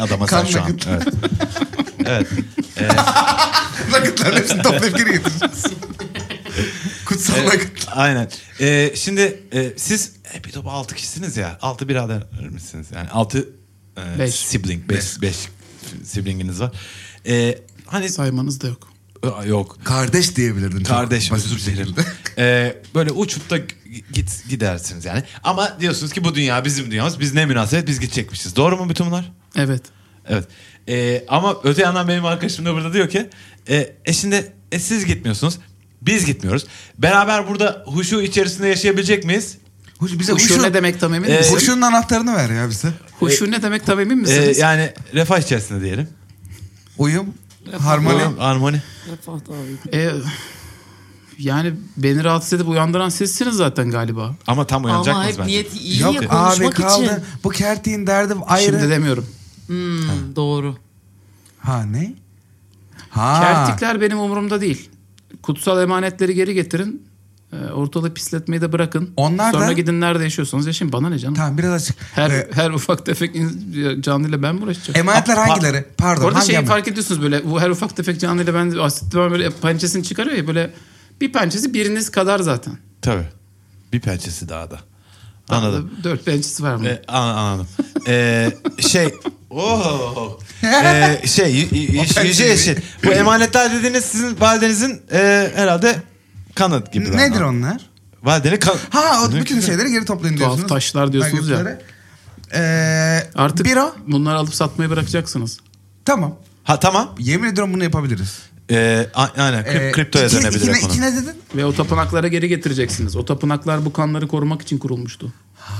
Speaker 4: Adama sen
Speaker 2: Kan
Speaker 4: şu an.
Speaker 2: nugget.
Speaker 4: Evet.
Speaker 2: Nakıtların hepsini toplayıp geri getireceğiz. Kutsal nakıt.
Speaker 4: Aynen. E, şimdi e, siz e, bir top altı kişisiniz ya. Altı birader misiniz? Yani altı e,
Speaker 1: Beş.
Speaker 4: sibling. Beş, beş siblinginiz var. E, hani
Speaker 1: Saymanız da yok.
Speaker 4: Aa, yok.
Speaker 2: Kardeş diyebilirdin. çok
Speaker 4: Kardeş
Speaker 2: basit
Speaker 4: özür
Speaker 2: bir şekilde.
Speaker 4: dilerim. Ee, böyle uçup da g- git gidersiniz yani. Ama diyorsunuz ki bu dünya bizim dünyamız. Biz ne münasebet biz gidecekmişiz. Doğru mu bütün bunlar?
Speaker 1: Evet.
Speaker 4: Evet. Ee, ama öte yandan benim arkadaşım da burada diyor ki e, e şimdi e, siz gitmiyorsunuz. Biz gitmiyoruz. Beraber burada E, huşu içerisinde yaşayabilecek miyiz?
Speaker 2: Huş, bize
Speaker 1: Huşu
Speaker 2: huşun-
Speaker 1: ne demek tam emin
Speaker 4: Ee,
Speaker 1: misin?
Speaker 2: Huşunun anahtarını ver ya bize.
Speaker 1: Huşu ne demek tam emin
Speaker 4: Ee,
Speaker 1: misiniz?
Speaker 4: yani refah içerisinde diyelim.
Speaker 2: Uyum, harmoni.
Speaker 4: Ulan, Harmoni.
Speaker 3: Refah abi.
Speaker 1: Ee, yani beni rahatsız edip uyandıran sizsiniz zaten galiba.
Speaker 4: Ama tam uyanacak
Speaker 3: Ama
Speaker 4: mısınız
Speaker 3: hep
Speaker 4: bence?
Speaker 3: niyeti iyi
Speaker 2: Yok
Speaker 3: ya
Speaker 2: abi
Speaker 3: konuşmak
Speaker 2: kaldı.
Speaker 3: için.
Speaker 2: Bu kertiğin derdi ayrı.
Speaker 1: Şimdi demiyorum.
Speaker 3: Hmm, doğru.
Speaker 2: Ha ne? Ha.
Speaker 1: Kertikler benim umurumda değil. Kutsal emanetleri geri getirin. Ee, Ortalığı pisletmeyi de bırakın.
Speaker 2: Onlar
Speaker 1: Sonra
Speaker 2: da-
Speaker 1: gidin nerede yaşıyorsanız yaşayın. Bana ne canım?
Speaker 2: Tamam biraz açık.
Speaker 1: Her
Speaker 2: Ee,
Speaker 1: her ufak tefek in- canlıyla ben mi uğraşacağım?
Speaker 2: emanetler
Speaker 4: Pa- pa-
Speaker 2: hangileri? Pardon.
Speaker 1: Orada
Speaker 2: hangi
Speaker 1: şeyi
Speaker 2: emanet?
Speaker 1: fark ediyorsunuz böyle bu her ufak tefek canlıyla ben asitli ben böyle pençesini çıkarıyor ya böyle bir pençesi biriniz kadar zaten.
Speaker 4: Tabii. Bir pençesi daha da. Anladım.
Speaker 1: Dört pençesi var mı?
Speaker 4: Ee, an- anladım. Ee, şey... Oo. Ee, şey y- y-
Speaker 2: pençe
Speaker 4: yüce
Speaker 2: gibi.
Speaker 4: yeşil. Bu emanetler dediğiniz sizin validenizin e, herhalde kanıt gibi.
Speaker 2: Nedir onlar?
Speaker 4: Validenin kan...
Speaker 2: Ha o
Speaker 4: Ne-
Speaker 2: bütün şeyleri geri toplayın
Speaker 1: Tuhaf
Speaker 2: diyorsunuz.
Speaker 1: taşlar diyorsunuz ya.
Speaker 2: Nuggetsları. Ee,
Speaker 1: Artık
Speaker 2: Biro.
Speaker 1: bunları alıp satmayı bırakacaksınız.
Speaker 2: Tamam.
Speaker 4: Ha tamam.
Speaker 2: Yemin ediyorum bunu yapabiliriz.
Speaker 4: Ee, a- aynen krip-
Speaker 2: Ee,
Speaker 4: kriptoya
Speaker 2: iki-
Speaker 4: dönebilir
Speaker 2: ikine-
Speaker 4: ekonomi.
Speaker 2: ikine dedin?
Speaker 1: Ve o tapınaklara geri getireceksiniz. O tapınaklar bu kanları korumak için kurulmuştu.
Speaker 2: Ha,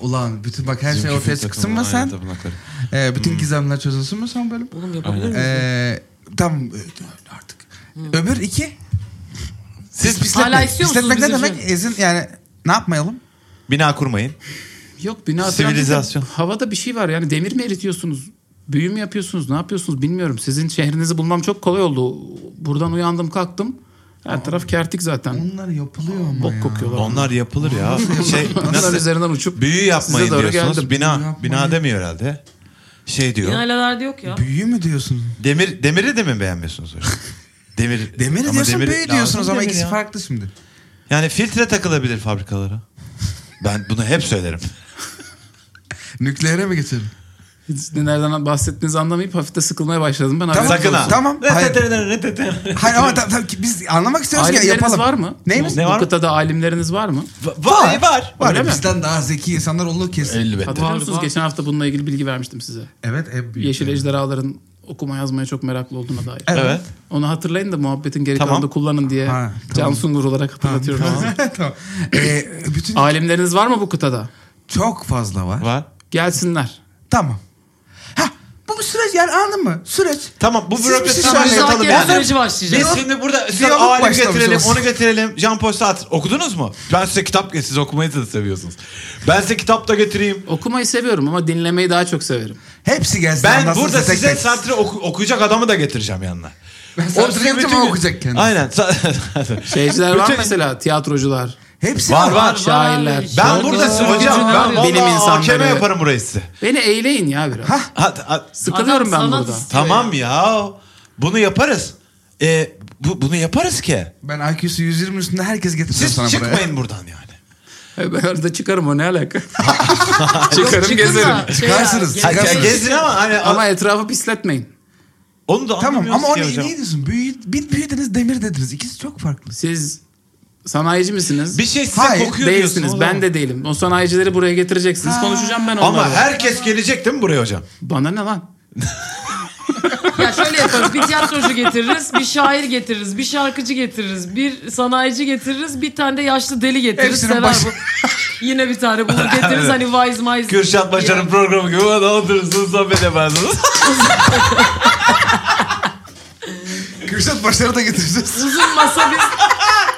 Speaker 2: ulan bütün bak her şey
Speaker 4: Çünkü
Speaker 2: ortaya
Speaker 4: kripto
Speaker 2: çıksın mı
Speaker 4: ekonomi, aynen
Speaker 2: sen?
Speaker 4: tapınakları.
Speaker 2: Ee, bütün gizemler çözülsün mü son bölüm?
Speaker 3: Oğlum yapabilir miyiz?
Speaker 2: Ee, tam artık. Öbür iki. Siz pisletmek.
Speaker 3: Hmm. Hala istiyor musunuz
Speaker 2: pisletmek ne
Speaker 3: bizim
Speaker 2: demek? Ezin yani ne yapmayalım?
Speaker 4: Bina kurmayın.
Speaker 1: Yok bina falan
Speaker 4: Sivilizasyon.
Speaker 1: değil de Havada bir şey var yani demir mi eritiyorsunuz? Büyü mü yapıyorsunuz? Ne yapıyorsunuz bilmiyorum. Sizin şehrinizi bulmam çok kolay oldu. Buradan uyandım kalktım. Her taraf kertik zaten.
Speaker 2: Onlar yapılıyor ama
Speaker 1: Bok
Speaker 2: ya.
Speaker 1: kokuyorlar.
Speaker 4: Onlar yapılır ya. şey
Speaker 1: Onlar
Speaker 4: nasıl
Speaker 1: üzerinden uçup
Speaker 4: büyü yapmayın
Speaker 1: size doğru
Speaker 4: diyorsunuz.
Speaker 1: geldim.
Speaker 4: Bina
Speaker 2: Büyü yapmayın.
Speaker 4: bina demiyor herhalde. Şey diyor.
Speaker 3: Yine derdi yok ya.
Speaker 2: Büyü mü diyorsun?
Speaker 4: Demir demiri de mi beğenmiyorsunuz hocam? Demir
Speaker 2: Demir
Speaker 4: ama
Speaker 2: diyorsun,
Speaker 4: demir-
Speaker 2: büyü diyorsunuz
Speaker 4: Lazım
Speaker 2: ama
Speaker 4: demir
Speaker 2: ikisi
Speaker 4: ya.
Speaker 2: farklı şimdi.
Speaker 4: Yani filtre takılabilir fabrikalara. Ben bunu hep söylerim.
Speaker 2: Nükleere mi geçelim?
Speaker 1: Siz de nereden bahsettiğinizi anlamayıp hafif de sıkılmaya başladım. Ben
Speaker 2: Tamam.
Speaker 1: hala-
Speaker 4: Sakın ha.
Speaker 2: Tamam, hayır.
Speaker 4: Retetere-
Speaker 2: Hayır ama tam, tam, ki biz anlamak istiyoruz ki
Speaker 1: Alimleriniz
Speaker 2: yapalım.
Speaker 1: var mı?
Speaker 2: Neyimiz?
Speaker 1: Bu-
Speaker 4: Ne
Speaker 1: Bu
Speaker 4: var?
Speaker 1: kıtada alimleriniz var mı?
Speaker 4: Var var.
Speaker 2: Var
Speaker 1: Öyle
Speaker 2: ya,
Speaker 1: mi?
Speaker 2: bizden daha zeki insanlar olduğu kesin.
Speaker 4: Elbette.
Speaker 1: Hatırlıyor
Speaker 3: Var,
Speaker 1: musunuz?
Speaker 3: var.
Speaker 1: Geçen hafta bununla ilgili bilgi vermiştim size.
Speaker 2: Evet en büyük.
Speaker 1: Yeşil ejderhaların okuma yazmaya çok meraklı olduğuna dair.
Speaker 2: Evet.
Speaker 4: Evet.
Speaker 1: Onu hatırlayın da muhabbetin geri
Speaker 4: Tamam.
Speaker 1: kalanında kullanın diye
Speaker 2: Ha,
Speaker 1: Can
Speaker 2: tamam.
Speaker 1: Sungur olarak hatırlatıyorum. size.
Speaker 2: tamam. Ee, bütün
Speaker 1: Alimleriniz var mı bu kıtada?
Speaker 2: çok fazla var.
Speaker 4: Var.
Speaker 1: Gelsinler.
Speaker 2: Tamam. Ha bu süreç yani anladın mı? Süreç.
Speaker 4: Tamam bu
Speaker 2: Siz bir
Speaker 4: bürokrasi
Speaker 2: şey
Speaker 4: tamam,
Speaker 2: söyleyin.
Speaker 4: yatalım
Speaker 3: Müzakere
Speaker 4: yani.
Speaker 3: süreci başlayacak.
Speaker 4: Biz şimdi burada size
Speaker 2: diyalog
Speaker 4: alim
Speaker 2: başlamış
Speaker 4: getirelim,
Speaker 2: olsun.
Speaker 4: onu getirelim. Jean-Paul Sartre okudunuz mu? Ben size kitap siz okumayı da seviyorsunuz. Ben size kitap da getireyim.
Speaker 1: Okumayı seviyorum ama dinlemeyi daha çok severim.
Speaker 2: Hepsi gelsin.
Speaker 4: Ben
Speaker 2: anlatsın
Speaker 4: burada
Speaker 2: tek
Speaker 4: size
Speaker 2: tek.
Speaker 4: Sartre oku- okuyacak adamı da getireceğim yanına.
Speaker 2: Ben
Speaker 4: O
Speaker 2: Sartre
Speaker 4: size
Speaker 2: yapacağım,
Speaker 4: bütün
Speaker 2: o
Speaker 4: gün-
Speaker 2: okuyacak kendisi.
Speaker 4: Aynen.
Speaker 1: Şeyciler var
Speaker 4: Bütün-
Speaker 1: mesela tiyatrocular.
Speaker 2: Hepsi
Speaker 4: Var, var.
Speaker 1: şairler.
Speaker 3: Ben
Speaker 4: Ben
Speaker 1: şarkıcılar,
Speaker 4: burada size hocam.
Speaker 1: şarkıcılar,
Speaker 4: Ben
Speaker 1: bilim insanları.
Speaker 4: AKM yaparım burayı size.
Speaker 1: Beni eğleyin ya biraz.
Speaker 2: Ha.
Speaker 4: Ha, ha,
Speaker 1: Sıkılıyorum
Speaker 3: Adam
Speaker 1: ben
Speaker 3: sanat
Speaker 1: burada.
Speaker 3: istiyor
Speaker 4: tamam ya. Bunu yaparız. E, bu, bunu yaparız ki.
Speaker 2: Ben IQ'su 120 üstünde herkes getireceğim
Speaker 4: Siz
Speaker 2: sana buraya.
Speaker 4: çıkmayın buradan yani.
Speaker 1: E Ben arada çıkarım o ne alaka? çıkarım
Speaker 3: Çıkın
Speaker 1: gezerim.
Speaker 3: da,
Speaker 2: Çıkarsınız,
Speaker 3: ya,
Speaker 4: Ha, şey
Speaker 2: Çıkarsınız.
Speaker 4: gezin ama hani
Speaker 1: Ama etrafı pisletmeyin.
Speaker 4: onu da
Speaker 2: Tamam
Speaker 4: anlamıyoruz
Speaker 2: ama o
Speaker 4: ki
Speaker 2: ne,
Speaker 4: hocam.
Speaker 2: ne diyorsun? Büyü, bir büyü dediniz demir dediniz. İkisi çok farklı.
Speaker 1: Siz sanayici misiniz?
Speaker 4: Bir şey size
Speaker 2: Hayır,
Speaker 4: kokuyor diyorsun
Speaker 1: Değilsiniz.
Speaker 4: oğlum.
Speaker 1: Ben de değilim. O sanayicileri buraya getireceksiniz.
Speaker 2: Ha.
Speaker 1: Konuşacağım ben onlarla.
Speaker 4: Ama herkes gelecek değil mi buraya hocam?
Speaker 1: Bana ne lan?
Speaker 3: Ya şöyle yaparız. Bir tiyatrocu getiririz, bir şair getiririz, bir şarkıcı getiririz, bir sanayici getiririz, bir tane de yaşlı deli getiririz.
Speaker 2: Hepsinin
Speaker 3: Sever
Speaker 2: başı-
Speaker 3: bu. Yine bir tane bulur getiririz hani wise wise.
Speaker 4: Kürşat Başar'ın programı gibi bana oturursunuz sohbet edersiniz.
Speaker 2: Kürşat Başar'ı da getireceğiz.
Speaker 3: Uzun masa biz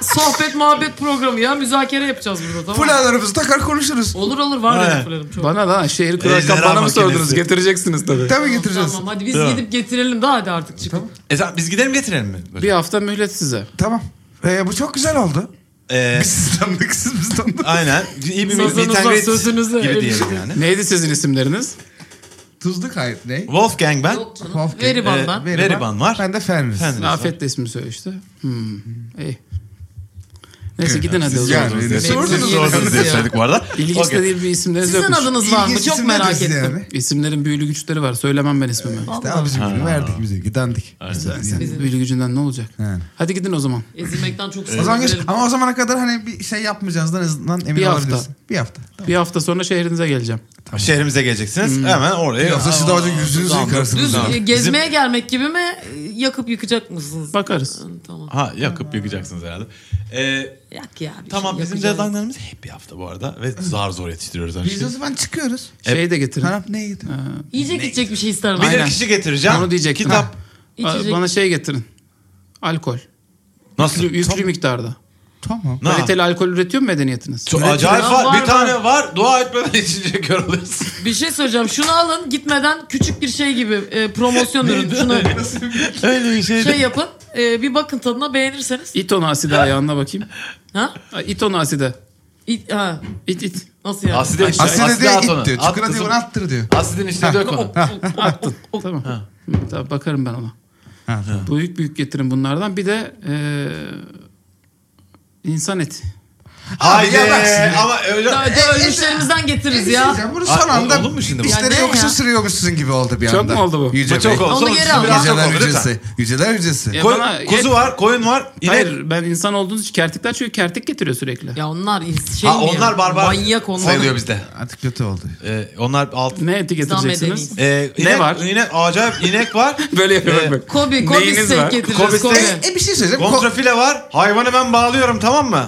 Speaker 3: sohbet muhabbet programı ya müzakere yapacağız burada tamam mı?
Speaker 2: Fularlarımızı takar konuşuruz.
Speaker 3: Olur olur var
Speaker 4: Aynen.
Speaker 3: ya fularım çok.
Speaker 1: Bana lan şehir
Speaker 4: Ejderha
Speaker 1: kurarken bana mı
Speaker 4: makinesi.
Speaker 1: sordunuz? Getireceksiniz tabii.
Speaker 2: Tabii
Speaker 3: Tamam,
Speaker 2: getireceğiz.
Speaker 3: Tamam hadi biz
Speaker 4: Tamam.
Speaker 3: gidip getirelim daha hadi artık çıkın.
Speaker 4: E sen- biz gidelim getirelim mi?
Speaker 1: Bir hafta mühlet size.
Speaker 2: Tamam. Ee, bu çok güzel oldu.
Speaker 4: Ee,
Speaker 2: Biz siz tanıdık, siz biz tanıdık.
Speaker 4: aynen. İyi bir
Speaker 3: Sazınıza,
Speaker 4: meet and greet
Speaker 3: sözünüze
Speaker 4: gibi
Speaker 3: el-
Speaker 4: diyelim yani.
Speaker 1: Neydi sizin isimleriniz?
Speaker 2: Tuzluk hayır ne?
Speaker 4: Wolfgang ben.
Speaker 3: Yok canım.
Speaker 2: Wolfgang.
Speaker 3: Veriban
Speaker 4: Ee,
Speaker 3: ben.
Speaker 4: Veriban var.
Speaker 2: Ben de Fenris.
Speaker 4: Fenris.
Speaker 1: Rafet de ismini söyle işte. Hmm. iyi. Neyse gidin hadi o
Speaker 2: Siz
Speaker 1: zaman.
Speaker 2: yani beni
Speaker 1: Bekliyoruz.
Speaker 2: sordunuz.
Speaker 4: Sordunuz diye söyledik bu arada.
Speaker 1: İlginç
Speaker 4: Okey.
Speaker 1: de değil bir şey. isimleriniz
Speaker 3: Sizin
Speaker 1: yokmuş.
Speaker 3: adınız var mı?
Speaker 2: İlginç
Speaker 3: Çok
Speaker 2: isim
Speaker 3: merak
Speaker 2: nedir
Speaker 3: ettim.
Speaker 2: yani?
Speaker 1: İsimlerin büyülü güçleri var. Söylemem ben ismimi.
Speaker 2: İşte abicim gibi verdik bize gidendik.
Speaker 3: Bizim-
Speaker 1: Büyülü gücünden ne olacak?
Speaker 2: Yani.
Speaker 1: Hadi gidin o zaman.
Speaker 3: Ezilmekten çok
Speaker 2: O zaman geç,
Speaker 3: sinirlenirim.
Speaker 2: ama o zamana kadar hani bir şey yapmayacağınızdan en azından emin
Speaker 1: Bir hafta.
Speaker 2: olabilirsin. Bir hafta.
Speaker 1: Bir hafta sonra şehrinize geleceğim.
Speaker 4: Şehrimize geleceksiniz. Hemen oraya.
Speaker 2: Yoksa siz daha önce yüzünüzü
Speaker 1: Tamam.
Speaker 2: yıkarsınız.
Speaker 3: Düz
Speaker 2: Tamam.
Speaker 3: e, gezmeye gelmek gibi mi? E, yakıp yıkacak mısınız?
Speaker 1: Bakarız.
Speaker 3: Tamam.
Speaker 4: Ha yakıp yıkacaksınız herhalde. Ee,
Speaker 3: Yak ya. bir
Speaker 4: tamam
Speaker 3: şey
Speaker 4: bizim
Speaker 3: yakacağız.
Speaker 4: deadline'larımız hep bir hafta bu arada. Ve zar zor yetiştiriyoruz.
Speaker 2: Biz o zaman çıkıyoruz.
Speaker 4: E,
Speaker 1: Şeyi de getirin.
Speaker 2: Harap neydi?
Speaker 3: Yiyecek içecek bir şey isterim.
Speaker 4: Bir
Speaker 1: Aynen.
Speaker 4: kişi getireceğim.
Speaker 1: Onu diyecektim.
Speaker 4: Kitap.
Speaker 1: Ha.
Speaker 3: İçecek.
Speaker 1: Bana şey getirin. Alkol.
Speaker 4: Nasıl?
Speaker 1: Yüklü, yüklü
Speaker 4: Tam-
Speaker 1: miktarda.
Speaker 2: Tamam.
Speaker 4: Na-
Speaker 1: Kaliteli alkol üretiyor mu medeniyetiniz?
Speaker 4: Çok acayip
Speaker 3: Ya
Speaker 4: var.
Speaker 3: var,
Speaker 4: Bir
Speaker 3: var.
Speaker 4: tane var. Dua etmeden içecek yoruluyorsun.
Speaker 3: Bir şey söyleyeceğim. Şunu alın gitmeden küçük bir şey gibi e, promosyon ürünü. Şunu
Speaker 4: Öyle bir şey.
Speaker 3: şey yapın. e, bir bakın tadına beğenirseniz.
Speaker 1: İton aside ayağına bakayım.
Speaker 3: Ha?
Speaker 1: Ay, İton aside.
Speaker 3: İ- ha.
Speaker 1: İt it.
Speaker 3: Nasıl yani?
Speaker 4: Aside işte.
Speaker 2: Aslında diyor
Speaker 4: at
Speaker 2: it
Speaker 4: onu.
Speaker 2: diyor.
Speaker 4: At
Speaker 2: Çukura diyor
Speaker 4: kızım.
Speaker 2: bunu attır diyor.
Speaker 4: Asidin içine dök onu.
Speaker 1: Attın. tamam. Hı, tamam. Bakarım ben ona.
Speaker 2: Ha, tamam.
Speaker 1: Büyük büyük getirin bunlardan. Bir de eee insan eti.
Speaker 4: Haydi.
Speaker 2: Abi, yemezsin ya.
Speaker 4: Ama öyle.
Speaker 3: Daha önce ölmüşlerimizden getiririz ya.
Speaker 2: Ya. şey Bunu son
Speaker 4: Aa,
Speaker 2: anda
Speaker 4: olur mu şimdi bu?
Speaker 2: dişleri
Speaker 3: Ya ne
Speaker 2: yoksa
Speaker 3: ya?
Speaker 2: sürüyormuşsun gibi oldu bir
Speaker 1: Çok
Speaker 2: anda.
Speaker 1: mu oldu bu?
Speaker 2: Yüce
Speaker 4: Bu çok
Speaker 2: Bey.
Speaker 4: oldu.
Speaker 3: Onu geri al.
Speaker 4: Biraz
Speaker 2: Yüceler
Speaker 4: çok oldu, lütfen.
Speaker 2: yücesi. Yüceler yücesi.
Speaker 1: Ya
Speaker 4: Koy-
Speaker 1: bana-
Speaker 4: kuzu var, koyun var, inek.
Speaker 1: Hayır ben insan olduğunuz için kertikler çünkü kertik getiriyor sürekli.
Speaker 3: Ya onlar is- şey
Speaker 4: Ha,
Speaker 3: mi ya?
Speaker 4: onlar barbar
Speaker 3: Manyak onlar.
Speaker 4: sayılıyor bizde.
Speaker 2: Artık kötü oldu.
Speaker 4: Ee, onlar alt.
Speaker 1: Ne eti getireceksiniz?
Speaker 3: medeniyiz.
Speaker 1: Ne
Speaker 4: Ee, inek,
Speaker 1: var?
Speaker 4: Inek, acayip inek var.
Speaker 1: Böyle yapıyorlar
Speaker 4: Ee,
Speaker 1: bak.
Speaker 3: Kobe, Kobe
Speaker 1: Neyiniz
Speaker 3: steak
Speaker 1: var?
Speaker 3: getiririz.
Speaker 4: Kobe
Speaker 3: Kobe,
Speaker 4: steak-
Speaker 2: E, e bir şey söyleyeceğim. Ko-
Speaker 4: Kontrafile var. Hayvanı ben bağlıyorum tamam mı?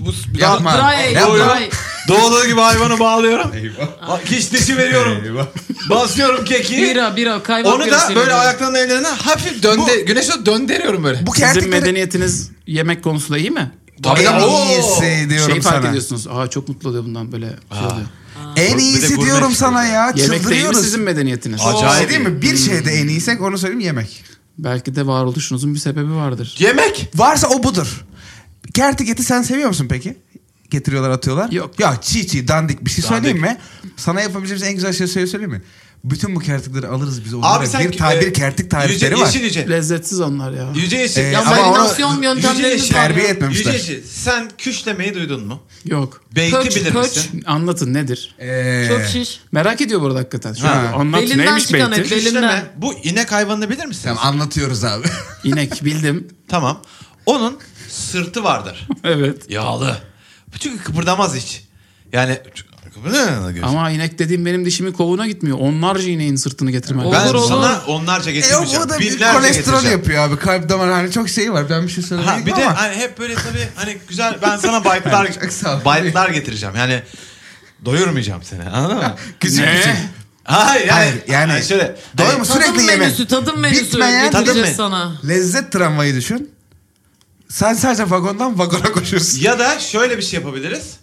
Speaker 4: Bu- bu-
Speaker 2: Yapma.
Speaker 3: Dry,
Speaker 4: Doğru.
Speaker 3: dry.
Speaker 4: Doğduğu gibi hayvanı bağlıyorum.
Speaker 2: Eyvah.
Speaker 4: Ha, Kiş dişi veriyorum.
Speaker 2: Eyvah.
Speaker 4: Basıyorum keki.
Speaker 3: Bira, bira. Kaymak
Speaker 4: Onu da
Speaker 3: birisiyle.
Speaker 4: böyle ayaklarının ellerine hafif dönde. Güneşe döndürüyorum böyle.
Speaker 2: Bu
Speaker 1: Sizin
Speaker 2: kertikleri
Speaker 1: medeniyetiniz yemek konusunda iyi mi?
Speaker 4: Tabii
Speaker 2: en
Speaker 4: ya, oo.
Speaker 2: iyisi diyorum
Speaker 1: Şeyi fark
Speaker 2: sana.
Speaker 1: ediyorsunuz. Aa çok mutlu oluyor bundan böyle. Şey oluyor.
Speaker 2: En
Speaker 4: Bir de
Speaker 2: iyisi
Speaker 4: gurme
Speaker 2: diyorum
Speaker 4: işte.
Speaker 2: sana ya.
Speaker 1: Yemek değil mi
Speaker 2: Çıldırıyoruz.
Speaker 1: sizin medeniyetiniz?
Speaker 4: Acayip. Hmm.
Speaker 2: Şey değil mi? Bir şeyde en iyiysek onu söyleyeyim yemek.
Speaker 1: Belki de varoluşunuzun bir sebebi vardır.
Speaker 4: Yemek.
Speaker 2: Varsa o budur. Kertik eti sen seviyor musun peki? Getiriyorlar atıyorlar.
Speaker 1: Yok.
Speaker 2: Ya çiğ çiğ dandik bir şey
Speaker 4: Dandik.
Speaker 2: söyleyeyim mi? Sana yapabileceğimiz en güzel şey söyleyeyim mi? Bütün bu kertikleri alırız biz onlara. bir, ta-
Speaker 4: e,
Speaker 2: bir kertik tarifleri
Speaker 4: yüce,
Speaker 2: var.
Speaker 4: Yeşil yüce.
Speaker 1: Lezzetsiz onlar ya.
Speaker 4: Yüce yeşil.
Speaker 2: E,
Speaker 3: Ya
Speaker 2: Ama
Speaker 3: marinasyon
Speaker 2: onu-
Speaker 3: yöntemlerimiz
Speaker 4: Yüce
Speaker 3: var.
Speaker 2: terbiye
Speaker 3: ya.
Speaker 2: etmemişler.
Speaker 4: Yüce yeşil. Sen küşlemeyi duydun mu?
Speaker 1: Yok.
Speaker 4: Beyti
Speaker 3: Köç,
Speaker 4: bilir
Speaker 3: köç.
Speaker 4: misin?
Speaker 1: Anlatın nedir?
Speaker 2: Ee,
Speaker 3: Çok şiş.
Speaker 1: Merak ediyor burada hakikaten. Şöyle
Speaker 4: Ha.
Speaker 1: anlat
Speaker 3: Belinden
Speaker 1: neymiş
Speaker 3: çıkan
Speaker 1: beyti?
Speaker 3: et. Belinden.
Speaker 4: Küşleme. Bu inek hayvanını bilir misin?
Speaker 2: Tamam anlatıyoruz abi. E,
Speaker 1: İnek bildim.
Speaker 4: Tamam. Onun sırtı vardır.
Speaker 1: evet.
Speaker 4: Yağlı. Çünkü kıpırdamaz hiç. Yani
Speaker 1: Ama inek dediğim benim dişimin kovuğuna gitmiyor. Onlarca ineğin sırtını getirmen
Speaker 4: ben
Speaker 1: lazım.
Speaker 3: olur.
Speaker 4: sana onlarca
Speaker 2: e o,
Speaker 4: getireceğim.
Speaker 2: o da bir
Speaker 4: binlerce
Speaker 2: kolesterol
Speaker 4: getireceğim.
Speaker 2: yapıyor abi. Kalp damar hani çok şey var. Ben bir şey
Speaker 4: Ha,
Speaker 2: söylemeyeyim
Speaker 4: bir de
Speaker 2: ama.
Speaker 4: hani hep böyle tabii hani güzel ben sana baytlar
Speaker 2: Çok sağ ol.
Speaker 4: baytlar getireceğim. Yani doyurmayacağım seni. Anladın mı?
Speaker 2: Küçük
Speaker 1: Ne?
Speaker 2: küçük.
Speaker 4: Hayır yani,
Speaker 2: Hayır, yani-
Speaker 4: yani şöyle
Speaker 2: Doyur
Speaker 4: Hani-
Speaker 2: musun?
Speaker 3: Tadım
Speaker 2: Sürekli yemek.
Speaker 3: menüsü, tadım menüsü.
Speaker 2: Bitmeyen-
Speaker 4: Tadım
Speaker 3: Getireceğiz
Speaker 4: menü.
Speaker 3: sana.
Speaker 2: Lezzet tramvayı düşün. Sen sadece vagondan vagona koşuyorsun.
Speaker 4: Ya da şöyle bir şey yapabiliriz.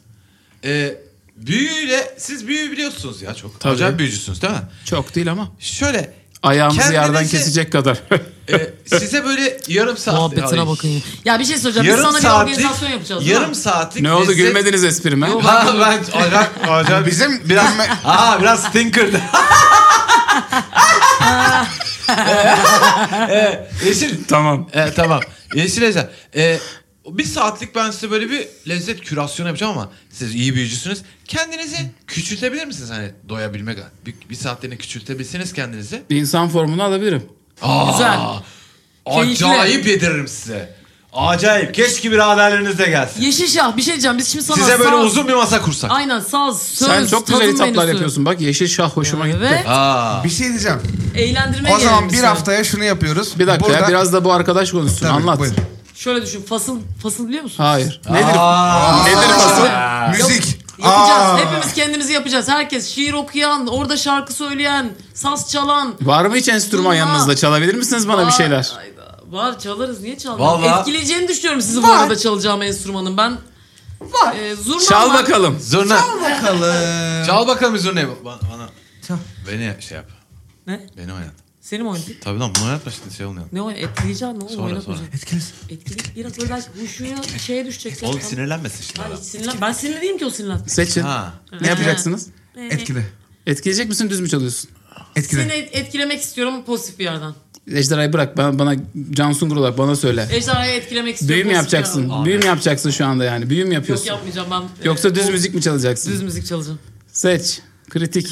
Speaker 4: Ee, büyüyle siz büyü biliyorsunuz ya çok.
Speaker 1: Tabii.
Speaker 4: Acayip büyücüsünüz değil mi?
Speaker 1: Çok değil ama.
Speaker 4: Şöyle
Speaker 1: Ayağımızı
Speaker 4: Kendinizi-
Speaker 1: yerden kesecek kadar.
Speaker 4: e, size böyle yarım saat
Speaker 3: Muhabbetine
Speaker 4: Ay.
Speaker 3: bakayım. Ya bir şey söyleyeceğim. Biz
Speaker 4: Yarım
Speaker 3: sana bir
Speaker 4: saatlik
Speaker 3: organizasyon yapacağız. değil
Speaker 4: yarım
Speaker 3: mi?
Speaker 4: saatlik
Speaker 1: ne oldu
Speaker 4: lezzet-
Speaker 1: gülmediniz esprime?
Speaker 4: Ha ben acayip, acayip
Speaker 2: Bizim
Speaker 4: biraz
Speaker 2: gülme-
Speaker 4: Aa biraz stinker'dı. Ee, E, Yeşil.
Speaker 1: Tamam.
Speaker 4: Ee, tamam. Yeşil Ejder. Ee, bir saatlik ben size böyle bir lezzet kürasyonu yapacağım ama siz iyi büyücüsünüz. Kendinizi küçültebilir misiniz? Hani doyabilmek. Bir, bir saatliğine küçültebilseniz kendinizi.
Speaker 1: İnsan formunu alabilirim.
Speaker 4: Aa,
Speaker 3: Güzel. Keyifli.
Speaker 4: Acayip yediririm size. Acayip. Keşke biraderleriniz de gelsin.
Speaker 3: Yeşilşah bir şey diyeceğim. Biz şimdi sana
Speaker 4: Size böyle
Speaker 3: saz-
Speaker 4: uzun bir masa kursak.
Speaker 3: Aynen saz, söz,
Speaker 1: Sen çok güzel
Speaker 3: tadım
Speaker 1: hitaplar
Speaker 3: menüsü.
Speaker 1: yapıyorsun. Bak yeşil şah hoşuma
Speaker 3: Evet.
Speaker 1: gitti.
Speaker 4: Aa.
Speaker 2: Bir şey diyeceğim.
Speaker 3: Eğlendirmeye
Speaker 2: O zaman
Speaker 3: gelelim
Speaker 2: bir
Speaker 3: biz sana.
Speaker 2: haftaya şunu yapıyoruz.
Speaker 1: Bir dakika ya,
Speaker 2: Burada-
Speaker 1: biraz da bu arkadaş konuşsun.
Speaker 2: Tabii,
Speaker 1: Anlat.
Speaker 2: buyurun.
Speaker 3: Şöyle düşün. Fasıl, fasıl biliyor musun?
Speaker 1: Hayır. Nedir? Nedir
Speaker 2: Aa,
Speaker 1: fasıl?
Speaker 2: Müzik.
Speaker 3: Yapacağız.
Speaker 2: Aa.
Speaker 3: Hepimiz kendimizi yapacağız. Herkes şiir okuyan, orada şarkı söyleyen, saz çalan.
Speaker 1: Var mı hiç enstrüman
Speaker 3: Aa.
Speaker 1: yanınızda? Çalabilir misiniz bana bir şeyler?
Speaker 3: Ay, Var çalarız. Niye çalmayalım?
Speaker 4: Vallahi-
Speaker 3: Etkileyeceğini düşünüyorum sizi bu arada çalacağım enstrümanın. Ben
Speaker 2: Var.
Speaker 3: e, zurna
Speaker 1: Çal
Speaker 3: var.
Speaker 1: bakalım.
Speaker 4: Zurna.
Speaker 2: Bakalım.
Speaker 4: Çal bakalım zurnayı. Bana, bana.
Speaker 2: Çal.
Speaker 4: Beni şey yap.
Speaker 3: Ne?
Speaker 4: Beni oynat.
Speaker 3: Seni mi oynatayım?
Speaker 4: Tabii lan bunu oynatma şimdi şey olmuyor.
Speaker 3: Ne o etkileyeceksin ne oğlum
Speaker 4: Sonra sonra.
Speaker 3: oynatmayacaksın.
Speaker 2: Etkilesin.
Speaker 3: Etkileyip biraz böyle belki huşuya şeye düşecek.
Speaker 4: Oğlum
Speaker 3: zaten.
Speaker 4: sinirlenmesin şimdi.
Speaker 3: Ay,
Speaker 4: adam.
Speaker 3: hiç sinirlen. Ben sinirli değilim ki o sinirlen.
Speaker 1: Seçin.
Speaker 4: Ha.
Speaker 1: Ne yapacaksınız?
Speaker 2: Etkile.
Speaker 1: Etkileyecek misin düz mü çalıyorsun?
Speaker 2: Etkile.
Speaker 3: Seni etkilemek istiyorum pozitif bir yerden.
Speaker 1: Ejderhayı bırak ben, bana Can Sungur olarak bana söyle.
Speaker 3: Ejderhayı etkilemek istiyorum.
Speaker 1: Büyü mü
Speaker 3: pozitif bir yerden.
Speaker 1: yapacaksın? Büyü mü yapacaksın şu anda yani? Büyü mü
Speaker 3: Yok
Speaker 1: yapıyorsun?
Speaker 3: yapmayacağım ben. e,
Speaker 1: Yoksa düz
Speaker 3: o-
Speaker 1: müzik mi çalacaksın?
Speaker 3: Düz müzik çalacağım.
Speaker 1: Seç. Kritik.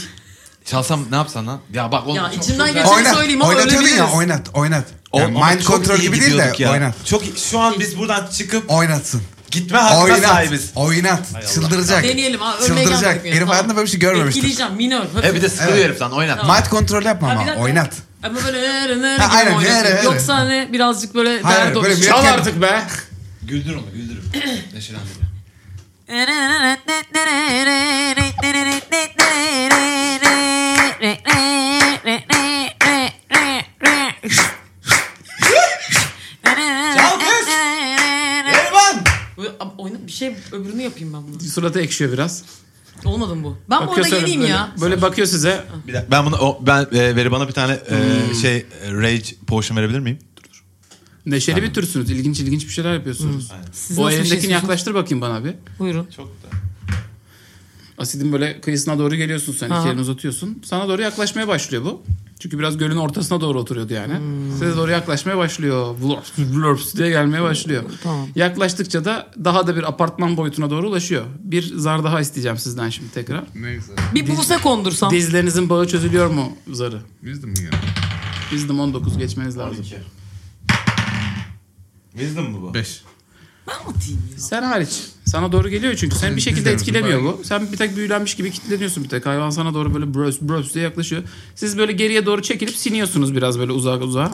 Speaker 4: Çalsam ne yapsan lan? Ya bak oğlum.
Speaker 3: Ya
Speaker 4: çok-
Speaker 3: içimden
Speaker 4: çok-
Speaker 3: geçen- Seni
Speaker 2: Oynat.
Speaker 3: şey söyleyeyim ama
Speaker 2: Oynatıyordun ya
Speaker 3: ölebiliriz.
Speaker 2: oynat. Oynat.
Speaker 4: Oğlum
Speaker 2: Yani
Speaker 4: ama
Speaker 2: mind
Speaker 4: çok
Speaker 2: control
Speaker 4: iyi
Speaker 2: gibi değil de
Speaker 4: gidiyorduk ya.
Speaker 2: oynat.
Speaker 4: Çok şu an biz buradan çıkıp
Speaker 2: Oynatsın.
Speaker 4: gitme hakkına
Speaker 2: Oynat.
Speaker 4: sahibiz.
Speaker 2: Oynat. Çıldıracak.
Speaker 3: Deneyelim ha. Ölmeye
Speaker 2: Çıldıracak.
Speaker 3: gelmedik yani.
Speaker 2: Herif hayatında böyle bir şey görmemiştir.
Speaker 3: Etkileyeceğim minör. hafif.
Speaker 4: E bir de sıkılıyor
Speaker 2: Evet.
Speaker 4: herif lan oynat.
Speaker 3: Tamam.
Speaker 2: Mind control yapma
Speaker 3: Ha, bir
Speaker 2: ama
Speaker 3: dakika.
Speaker 2: oynat.
Speaker 3: Ama böyle nere nere
Speaker 2: Ha, aynen,
Speaker 3: gibi oynatıyor.
Speaker 2: nere nere.
Speaker 3: Yoksa hani birazcık böyle
Speaker 2: Hayır,
Speaker 3: dert
Speaker 2: böyle
Speaker 3: olmuş.
Speaker 2: bir-
Speaker 1: Çal artık be.
Speaker 5: Güldür onu güldür. Neşelendir.
Speaker 4: Çal kız! Elvan!
Speaker 3: Böyle- Ama oyna- Bir şey öbürünü yapayım ben bunu.
Speaker 1: Suratı ekşiyor biraz.
Speaker 3: Olmadı mı bu? Ben bu
Speaker 1: Bakıyor
Speaker 3: oyuna
Speaker 1: sana
Speaker 3: geleyim
Speaker 1: böyle,
Speaker 3: ya.
Speaker 1: Böyle bakıyor size.
Speaker 4: Bir dakika, ben bunu o, ben e, veri bana bir tane e, şey e, rage potion verebilir miyim?
Speaker 1: Neşeli bir türsünüz. İlginç ilginç bir şeyler yapıyorsunuz.
Speaker 3: Siz
Speaker 1: O
Speaker 3: nasıl bir
Speaker 1: elindekini
Speaker 3: şeysiniz?
Speaker 1: yaklaştır bakayım bana abi.
Speaker 3: Buyurun.
Speaker 5: Çok da.
Speaker 1: Asidin böyle kıyısına doğru geliyorsun sen.
Speaker 3: Ha.
Speaker 1: İki elini uzatıyorsun. Sana doğru yaklaşmaya başlıyor bu. Çünkü biraz gölün ortasına doğru oturuyordu yani.
Speaker 3: Hmm.
Speaker 1: Size doğru yaklaşmaya başlıyor. Vlurps, vlurps diye gelmeye başlıyor.
Speaker 3: Tamam.
Speaker 1: Yaklaştıkça da daha da bir apartman boyutuna doğru ulaşıyor. Bir zar daha isteyeceğim sizden şimdi tekrar.
Speaker 2: Neyse.
Speaker 3: Bir buğse kondursam.
Speaker 1: Dizlerinizin bağı çözülüyor mu zarı?
Speaker 2: Wisdom ya.
Speaker 1: Wisdom 19 geçmeniz lazım.
Speaker 4: Wisdom mu bu?
Speaker 2: 5.
Speaker 3: Ben atayım ya.
Speaker 1: Sen hariç. Sana doğru geliyor çünkü. Seni bir şekilde
Speaker 2: Dizlerimizin
Speaker 1: etkilemiyor
Speaker 2: bağı.
Speaker 1: bu. Sen bir tek büyülenmiş gibi kilitleniyorsun bir tek. Hayvan sana doğru böyle bros bros diye yaklaşıyor. Siz böyle geriye doğru çekilip siniyorsunuz biraz böyle uzağa uzağa.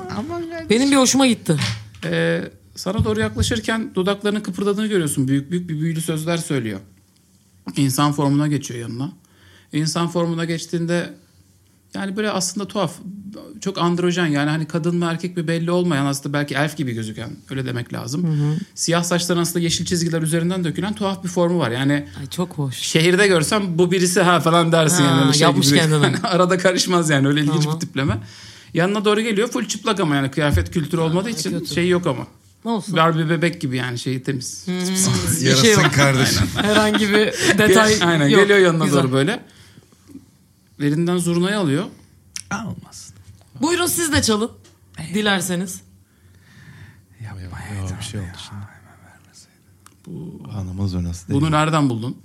Speaker 3: Benim bir hoşuma gitti.
Speaker 1: Ee, sana doğru yaklaşırken dudaklarının kıpırdadığını görüyorsun. Büyük büyük bir büyülü sözler söylüyor. İnsan formuna geçiyor yanına. İnsan formuna geçtiğinde yani böyle aslında tuhaf. Çok androjen yani hani kadın mı erkek mi belli olmayan aslında belki elf gibi gözüken öyle demek lazım. Siyah saçların aslında yeşil çizgiler üzerinden dökülen tuhaf bir formu var. Yani
Speaker 3: Ay çok hoş.
Speaker 1: şehirde görsem bu birisi ha falan dersin
Speaker 3: Ha,
Speaker 1: yani. Öyle
Speaker 3: yapmış
Speaker 1: gibi.
Speaker 3: kendine.
Speaker 1: Hani arada karışmaz yani öyle ilginç
Speaker 3: Tamam.
Speaker 1: bir tipleme. Yanına doğru geliyor full çıplak ama yani kıyafet kültürü olmadığı için şey yok ama.
Speaker 3: Ne olsun?
Speaker 1: Barbie bebek gibi yani şeyi temiz.
Speaker 3: Hmm. Bir şey
Speaker 2: Yarasın
Speaker 3: yok.
Speaker 2: kardeşim.
Speaker 3: Herhangi bir detay
Speaker 1: Gel- Aynen
Speaker 3: yok.
Speaker 1: geliyor yanına
Speaker 3: Güzel.
Speaker 1: doğru böyle. Elinden zurnayı alıyor.
Speaker 2: Almaz.
Speaker 3: Buyurun siz de çalın. Dilerseniz.
Speaker 4: bir şey oldu şimdi. Bu hanımız ve nasıl
Speaker 1: Bunu nereden buldun?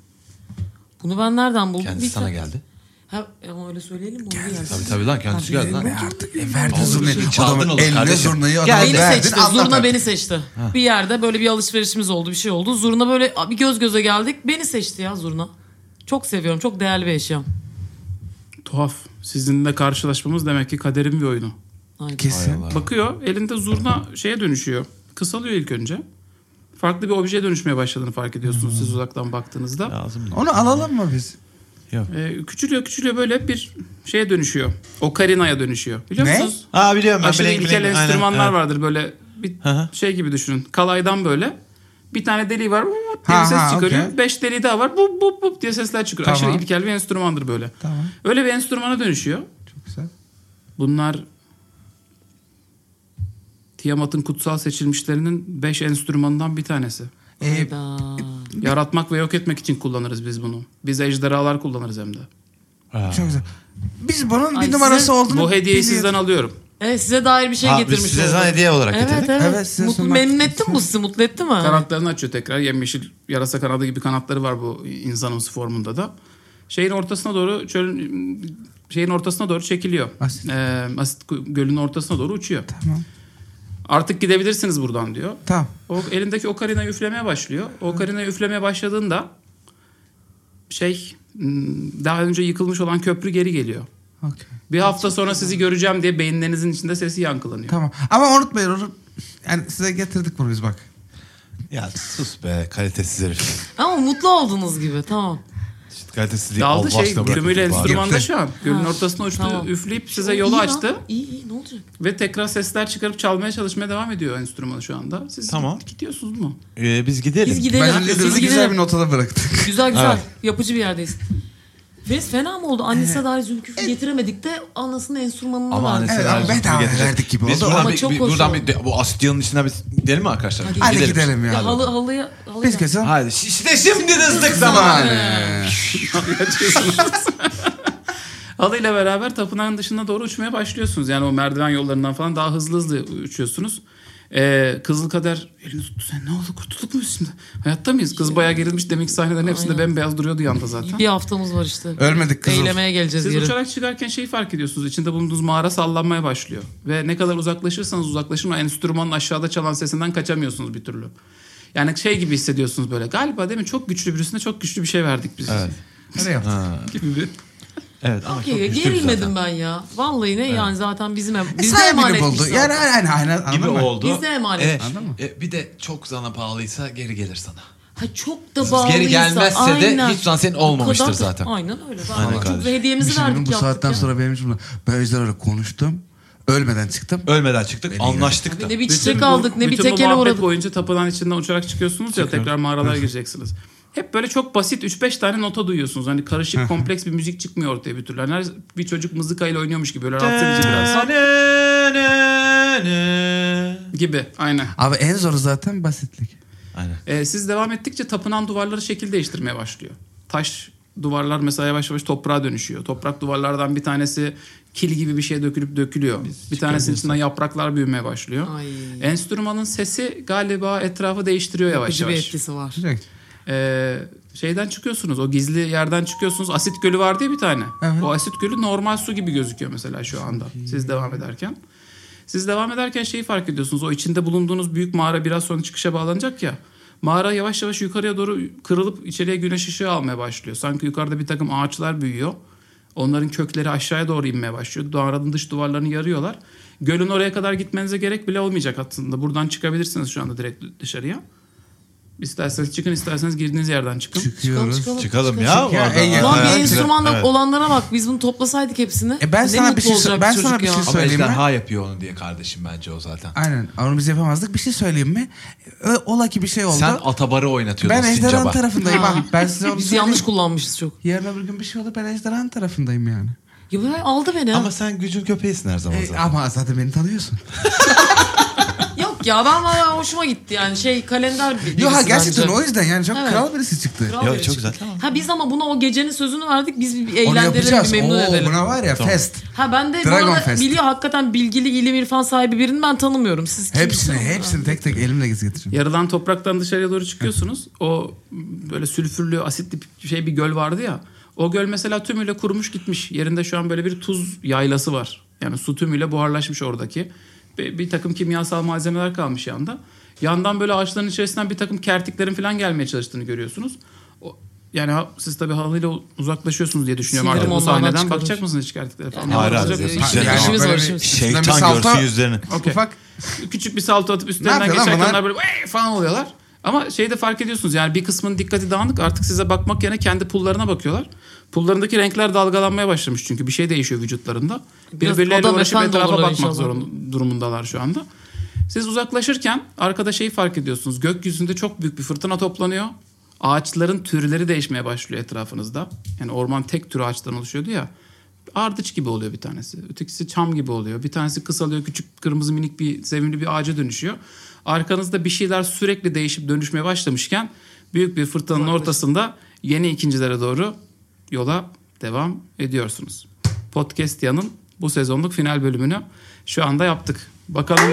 Speaker 3: Bunu ben nereden buldum?
Speaker 4: Kendisi sana geldi.
Speaker 3: Ha, ama öyle söyleyelim mi? Geldi.
Speaker 4: Tabii tabii lan kendisi geldi lan.
Speaker 2: Artık e, verdi zurnayı.
Speaker 4: şey, çaldın
Speaker 2: Adamın
Speaker 4: oğlum
Speaker 2: eline
Speaker 4: kardeşim.
Speaker 2: zurnayı
Speaker 4: Ya
Speaker 2: adama
Speaker 3: Beni
Speaker 2: verdin.
Speaker 3: seçti.
Speaker 2: anlat
Speaker 3: Zurna
Speaker 2: artık.
Speaker 3: beni seçti. Bir yerde böyle bir alışverişimiz oldu. Bir şey oldu. Zurna böyle bir göz göze geldik. Beni seçti ya Zurna. Çok seviyorum. Çok değerli bir eşyam.
Speaker 1: Tuhaf. Sizinle karşılaşmamız demek ki kaderin bir oyunu.
Speaker 3: Aynen.
Speaker 2: Kesin.
Speaker 1: Bakıyor elinde zurna şeye dönüşüyor. Kısalıyor ilk önce. Farklı bir objeye dönüşmeye başladığını fark ediyorsunuz siz uzaktan baktığınızda.
Speaker 4: Lazım mı?
Speaker 2: Onu alalım mı biz?
Speaker 1: Ee, küçülüyor küçülüyor böyle bir şeye dönüşüyor. Okarina'ya dönüşüyor. Biliyor
Speaker 2: Ne?
Speaker 1: musunuz?
Speaker 4: Aa biliyorum ben.
Speaker 1: Aşırı
Speaker 4: Blank
Speaker 1: ilkel
Speaker 4: Blank, aynen,
Speaker 1: enstrümanlar
Speaker 4: evet.
Speaker 1: vardır böyle bir
Speaker 4: Hı hı.
Speaker 1: şey gibi düşünün. Kalaydan böyle bir tane deliği var "Vuuu" diye
Speaker 2: Ha,
Speaker 1: bir ses
Speaker 2: ha,
Speaker 1: çıkarıyor.
Speaker 2: okey.
Speaker 1: Beş deliği daha var bup bup bup diye sesler çıkıyor.
Speaker 2: Tamam.
Speaker 1: Aşırı ilkel bir enstrümandır böyle.
Speaker 2: Tamam.
Speaker 1: Öyle bir enstrümana dönüşüyor.
Speaker 2: Çok güzel.
Speaker 1: Bunlar Tiamat'ın kutsal seçilmişlerinin beş enstrümanından bir tanesi.
Speaker 2: E,
Speaker 3: Hayda.
Speaker 1: Yaratmak ve yok etmek için kullanırız biz bunu. Biz ejderhalar kullanırız hem de.
Speaker 4: Ha.
Speaker 2: çok güzel. Biz bunun
Speaker 3: Ay,
Speaker 2: bir numarası
Speaker 3: size-
Speaker 2: olduğunu
Speaker 1: Bu hediyeyi
Speaker 2: biliyoruz.
Speaker 1: sizden alıyorum.
Speaker 3: Evet size dair bir şey
Speaker 4: Ha, biz
Speaker 3: getirmiş
Speaker 4: size
Speaker 3: oldum.
Speaker 4: sana hediye olarak
Speaker 3: evet,
Speaker 4: getirdik.
Speaker 3: Evet
Speaker 2: Evet, size
Speaker 3: Mutlu,
Speaker 2: sunmak
Speaker 3: memnun
Speaker 2: istedim.
Speaker 3: etti mi bu sizi? Mutlu etti mi?
Speaker 1: Kanatlarını açıyor tekrar. Yemyeşil yarasa kanadı gibi kanatları var bu insanımsı formunda da. Şeyin ortasına doğru çölün şeyin ortasına doğru çekiliyor.
Speaker 2: Asit.
Speaker 1: Ee, asit gö- gölünün ortasına doğru uçuyor.
Speaker 2: Tamam.
Speaker 1: Artık gidebilirsiniz buradan diyor.
Speaker 2: Tamam.
Speaker 1: O elindeki okarina üflemeye başlıyor. O okarina üflemeye başladığında şey m, daha önce yıkılmış olan köprü geri geliyor.
Speaker 2: Okey.
Speaker 1: Bir hafta sonra sizi göreceğim diye beyinlerinizin içinde sesi yankılanıyor.
Speaker 2: Tamam. Ama unutmayın onu. Yani size getirdik bunu biz bak.
Speaker 4: Ya sus be kalitesiz herif.
Speaker 3: Ama mutlu oldunuz gibi. Tamam.
Speaker 4: Şşt, kalitesiz değil.
Speaker 1: Daldı
Speaker 4: Allah
Speaker 1: şey
Speaker 4: aşkına bırakın
Speaker 1: gümüyle
Speaker 4: bu bağırı.
Speaker 1: enstrümanda şu an. Gölün
Speaker 3: Ha,
Speaker 1: ortasına uçtu
Speaker 3: tamam.
Speaker 1: üfleyip size
Speaker 3: İyi
Speaker 1: yolu
Speaker 3: lan.
Speaker 1: açtı.
Speaker 3: İyi iyi ne olacak?
Speaker 1: Ve tekrar sesler çıkarıp çalmaya çalışmaya devam ediyor enstrümanı şu anda. Siz
Speaker 4: Tamam.
Speaker 1: gidiyorsunuz mu?
Speaker 4: Ee, biz gidelim.
Speaker 3: Biz gidelim.
Speaker 2: Bence
Speaker 3: Biz
Speaker 2: liderimizi
Speaker 3: gidelim.
Speaker 2: güzel bir notada bıraktık.
Speaker 3: Güzel güzel.
Speaker 4: Evet.
Speaker 3: Yapıcı bir yerdeyiz. Fes fena mı oldu? Annesine dair Zülküf'ü getiremedik de anasının enstrümanını
Speaker 4: Ama hani
Speaker 3: verdik.
Speaker 4: annesi
Speaker 2: Evet,
Speaker 4: lazım.
Speaker 2: ama bedava
Speaker 4: Getirecek.
Speaker 2: verdik gibi
Speaker 4: Biz
Speaker 2: oldu.
Speaker 4: buradan,
Speaker 3: Ama
Speaker 4: bir,
Speaker 3: çok
Speaker 4: bir-
Speaker 3: hoş
Speaker 4: buradan
Speaker 3: oldu.
Speaker 4: bir, de- bu asit yığının içinden bir gidelim mi arkadaşlar?
Speaker 3: Hadi
Speaker 2: Hadi gidelim ya.
Speaker 3: Ya halı, halıya, halıya.
Speaker 2: Biz kesin.
Speaker 4: Hadi şi- işte şimdi rızlık zamanı.
Speaker 2: Zamanı.
Speaker 1: Halıyla beraber tapınağın dışına doğru uçmaya başlıyorsunuz. Yani o merdiven yollarından falan daha hızlı hızlı uçuyorsunuz. Ee, Kızıl Kader elini tuttu sen ne oldu kurtulduk mu biz şimdi? Hayatta mıyız? Kız bayağı gerilmiş demek ki sahnelerin hepsinde
Speaker 3: Aynen.
Speaker 1: bembeyaz duruyordu yanda zaten.
Speaker 3: Bir haftamız var işte.
Speaker 2: Ölmedik kızım.
Speaker 3: Eylemeye geleceğiz
Speaker 1: Siz
Speaker 3: yarın.
Speaker 1: uçarak çıkarken şeyi fark ediyorsunuz. İçinde bulunduğunuz mağara sallanmaya başlıyor. Ve ne kadar uzaklaşırsanız uzaklaşın o enstrümanın aşağıda çalan sesinden kaçamıyorsunuz bir türlü. Yani şey gibi hissediyorsunuz böyle. Galiba değil mi? Çok güçlü birisine çok güçlü bir şey verdik biz.
Speaker 4: Evet.
Speaker 2: Öyle yaptık.
Speaker 1: Gibi bir-
Speaker 4: Evet. ama çok
Speaker 3: Okey
Speaker 4: güçlü zaten.
Speaker 3: gerilmedim ben ya. Vallahi ne yani zaten bizim em bize
Speaker 2: Sahibi
Speaker 3: emanetmiş
Speaker 2: buldu.
Speaker 3: zaten.
Speaker 2: Yani hani hani anladın
Speaker 4: gibi
Speaker 2: mı?
Speaker 4: oldu.
Speaker 3: Bizde emanet.
Speaker 4: E,
Speaker 2: Anladın mı?
Speaker 5: E, bir de çok sana pahalıysa geri gelir sana.
Speaker 3: Ha çok da bağlıysa.
Speaker 5: Geri gelmezse de
Speaker 3: aynen.
Speaker 5: hiç zaman senin
Speaker 3: O kadar
Speaker 5: olmamıştır
Speaker 3: da-
Speaker 5: zaten.
Speaker 3: Aynen öyle.
Speaker 4: Aynen
Speaker 3: Aynen çok da
Speaker 4: kardeşim.
Speaker 2: Bir
Speaker 3: hediyemizi
Speaker 2: şey diyeyim mi?
Speaker 3: verdik
Speaker 2: bu
Speaker 3: yaptık
Speaker 2: saatten
Speaker 3: ya.
Speaker 2: sonra benim için ben Ejder'le konuştum. Ölmeden çıktım.
Speaker 4: Ölmeden çıktık.
Speaker 2: Beni
Speaker 4: anlaştık da.
Speaker 3: Ne bir
Speaker 1: Bütün
Speaker 3: çiçek
Speaker 1: bu-
Speaker 3: aldık ne bir
Speaker 1: bütün
Speaker 3: tekele
Speaker 1: bu muhabbet
Speaker 3: uğradık.
Speaker 1: boyunca tapınağın içinden uçarak çıkıyorsunuz ya tekrar mağaralara gireceksiniz. Hep böyle çok basit 3-5 tane nota duyuyorsunuz. Hani karışık kompleks bir müzik çıkmıyor ortaya bir türlü. Hani her bir çocuk mızıkayla oynuyormuş gibi böyle
Speaker 3: Ee,
Speaker 1: rahatsız edici biraz. Gibi aynen.
Speaker 2: Abi en zoru zaten basitlik.
Speaker 4: Aynen.
Speaker 1: Ee, siz devam ettikçe tapınağın duvarları şekil değiştirmeye başlıyor. Taş duvarlar mesela yavaş yavaş toprağa dönüşüyor. Toprak duvarlardan bir tanesi kil gibi bir şey dökülüp dökülüyor. bir tanesinin içinden yapraklar büyümeye başlıyor.
Speaker 3: Ay.
Speaker 1: Enstrümanın sesi galiba etrafı değiştiriyor yavaş
Speaker 3: Acı bir
Speaker 1: yavaş.
Speaker 3: etkisi var.
Speaker 1: Ee, şeyden çıkıyorsunuz. O gizli yerden çıkıyorsunuz. Asit gölü var diye bir tane.
Speaker 2: Evet.
Speaker 1: O asit gölü normal su gibi gözüküyor mesela şu anda. Siz devam ederken. Siz devam ederken şeyi fark ediyorsunuz. O içinde bulunduğunuz büyük mağara biraz sonra çıkışa bağlanacak ya. Mağara yavaş yavaş yukarıya doğru kırılıp içeriye güneş ışığı almaya başlıyor. Sanki yukarıda bir takım ağaçlar büyüyor. Onların kökleri aşağıya doğru inmeye başlıyor. Mağaranın dış duvarlarını yarıyorlar. Gölün oraya kadar gitmenize gerek bile olmayacak aslında. Buradan çıkabilirsiniz şu anda direkt dışarıya. İsterseniz çıkın, isterseniz girdiğiniz yerden çıkın.
Speaker 3: Çıkalım
Speaker 2: Çıkıyoruz.
Speaker 3: çıkalım.
Speaker 4: Çıkalım ya.
Speaker 2: Ya,
Speaker 4: oradan.
Speaker 2: en yakın.
Speaker 3: Ulan bir
Speaker 2: Evet.
Speaker 3: enstrümanla
Speaker 4: Evet.
Speaker 3: olanlara bak biz bunu toplasaydık hepsini.
Speaker 2: E ben
Speaker 3: ne
Speaker 2: sana bir
Speaker 3: mutlu
Speaker 2: şey
Speaker 3: olacak
Speaker 2: sö- ben
Speaker 3: çocuk
Speaker 2: sana bir
Speaker 3: ya.
Speaker 2: şey
Speaker 5: Ama
Speaker 2: Söyleyeyim mi?
Speaker 5: ejderha yapıyor onu diye kardeşim bence o zaten.
Speaker 2: Aynen. Ama biz yapamazdık. Bir şey söyleyeyim mi? E, Ola ki bir şey oldu.
Speaker 5: Sen atabarı oynatıyordun
Speaker 2: ben Ejderhan
Speaker 5: Sincap'a.
Speaker 2: tarafındayım
Speaker 3: Ha.
Speaker 2: abi. Ben size onu
Speaker 3: Biz
Speaker 4: şey
Speaker 2: söyleyeyim.
Speaker 3: yanlış kullanmışız çok.
Speaker 2: Yarın öbür gün bir şey olur ben Ejderhan tarafındayım yani.
Speaker 3: Ya bu aldı beni ha.
Speaker 4: Ama sen gücün köpeğisin her zaman
Speaker 2: E,
Speaker 4: zaten.
Speaker 2: ama zaten beni tanıyorsun.
Speaker 3: Yok ya ben valla hoşuma gitti yani şey kalender bir.
Speaker 2: Yok ha
Speaker 3: birisi
Speaker 2: gerçekten
Speaker 3: bence.
Speaker 2: o yüzden yani çok
Speaker 3: Evet.
Speaker 2: kral birisi çıktı.
Speaker 3: Kral
Speaker 4: Ya,
Speaker 3: biri
Speaker 4: çok
Speaker 3: çıktı.
Speaker 4: güzel, tamam.
Speaker 3: Ha biz ama buna o gecenin sözünü verdik biz bir
Speaker 2: Onu
Speaker 3: eğlendirelim bir
Speaker 2: yapacağız.
Speaker 3: memnun
Speaker 2: Oo,
Speaker 3: edelim.
Speaker 2: buna var ya
Speaker 4: Tamam.
Speaker 2: fest.
Speaker 3: Ha ben de
Speaker 2: Dragon
Speaker 3: bu arada
Speaker 2: Fest.
Speaker 3: biliyor hakikaten bilgili ilim irfan sahibi birini ben tanımıyorum. Siz kimsiniz?
Speaker 2: Hepsini hepsini tek tek elimle getireceğim.
Speaker 1: Yarıdan topraktan dışarıya doğru çıkıyorsunuz. O böyle sülfürlü, asitli bir şey bir göl vardı ya. O göl mesela tümüyle kurumuş gitmiş. Yerinde şu an böyle bir tuz yaylası var. Yani su tümüyle buharlaşmış oradaki. Bir, bir takım kimyasal malzemeler kalmış yanda. Yandan böyle ağaçların içerisinden bir takım kertiklerin falan gelmeye çalıştığını görüyorsunuz. O, yani ha- siz tabii halıyla uzaklaşıyorsunuz diye düşünüyorum
Speaker 3: Sinirim
Speaker 1: artık bu
Speaker 3: onlardan
Speaker 1: sahneden.
Speaker 3: çıkarır.
Speaker 1: Bakacak mısınız hiç kertiklere falan? şey
Speaker 3: Hayır, şey
Speaker 1: Bakacak
Speaker 3: hayır,
Speaker 1: mısınız?
Speaker 3: hayır. İşte Ee, işimiz
Speaker 2: böyle
Speaker 3: var,
Speaker 2: bir-
Speaker 3: işimiz.
Speaker 2: üstünden bir
Speaker 4: Şeytan
Speaker 2: salto-
Speaker 4: görsün yüzlerini.
Speaker 1: Okey.
Speaker 2: Ufak
Speaker 1: küçük bir salto atıp
Speaker 2: Ne
Speaker 1: üstlerinden
Speaker 2: yapıyor lan
Speaker 1: geçerken
Speaker 2: bunlar?
Speaker 1: onlar böyle "Ey!" falan oluyorlar. Ama şeyi de fark ediyorsunuz yani bir kısmının dikkati dağınık artık size bakmak yerine kendi pullarına bakıyorlar. Pullarındaki renkler dalgalanmaya başlamış çünkü bir şey değişiyor vücutlarında.
Speaker 3: Biraz
Speaker 1: Birbirleriyle
Speaker 3: adam
Speaker 1: uğraşıp
Speaker 3: efendi
Speaker 1: etrafa
Speaker 3: olurlar
Speaker 1: bakmak
Speaker 3: inşallah.
Speaker 1: zorun durumundalar şu anda. Siz uzaklaşırken arkada şeyi fark ediyorsunuz. Gökyüzünde çok büyük bir fırtına toplanıyor. Ağaçların türleri değişmeye başlıyor etrafınızda. Yani orman tek tür ağaçtan oluşuyordu ya. Ardıç gibi oluyor bir tanesi. Ötekisi çam gibi oluyor. Bir tanesi kısalıyor. Küçük kırmızı minik bir sevimli bir ağaca dönüşüyor. Arkanızda bir şeyler sürekli değişip dönüşmeye başlamışken büyük bir fırtınanın ortasında yeni ikincilere doğru yola devam ediyorsunuz. Podcast yanın bu sezonluk final bölümünü şu anda yaptık. Bakalım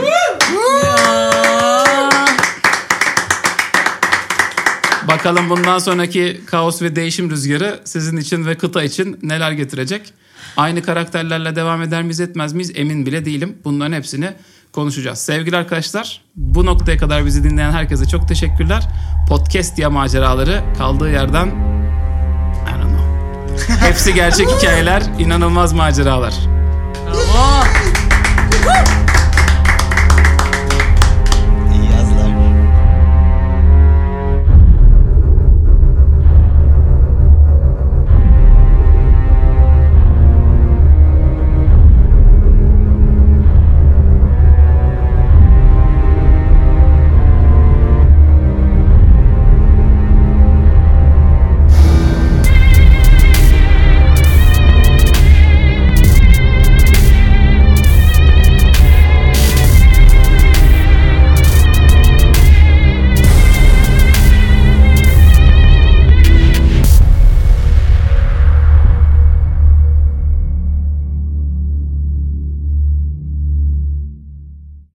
Speaker 1: Bakalım bundan sonraki kaos ve değişim rüzgarı sizin için ve kıta için neler getirecek? Aynı karakterlerle devam eder miyiz etmez miyiz emin bile değilim. Bunların hepsini konuşacağız. Sevgili arkadaşlar bu noktaya kadar bizi dinleyen herkese çok teşekkürler. Podcast ya maceraları kaldığı yerden I don't know. Hepsi gerçek hikayeler, inanılmaz maceralar.
Speaker 3: Bravo.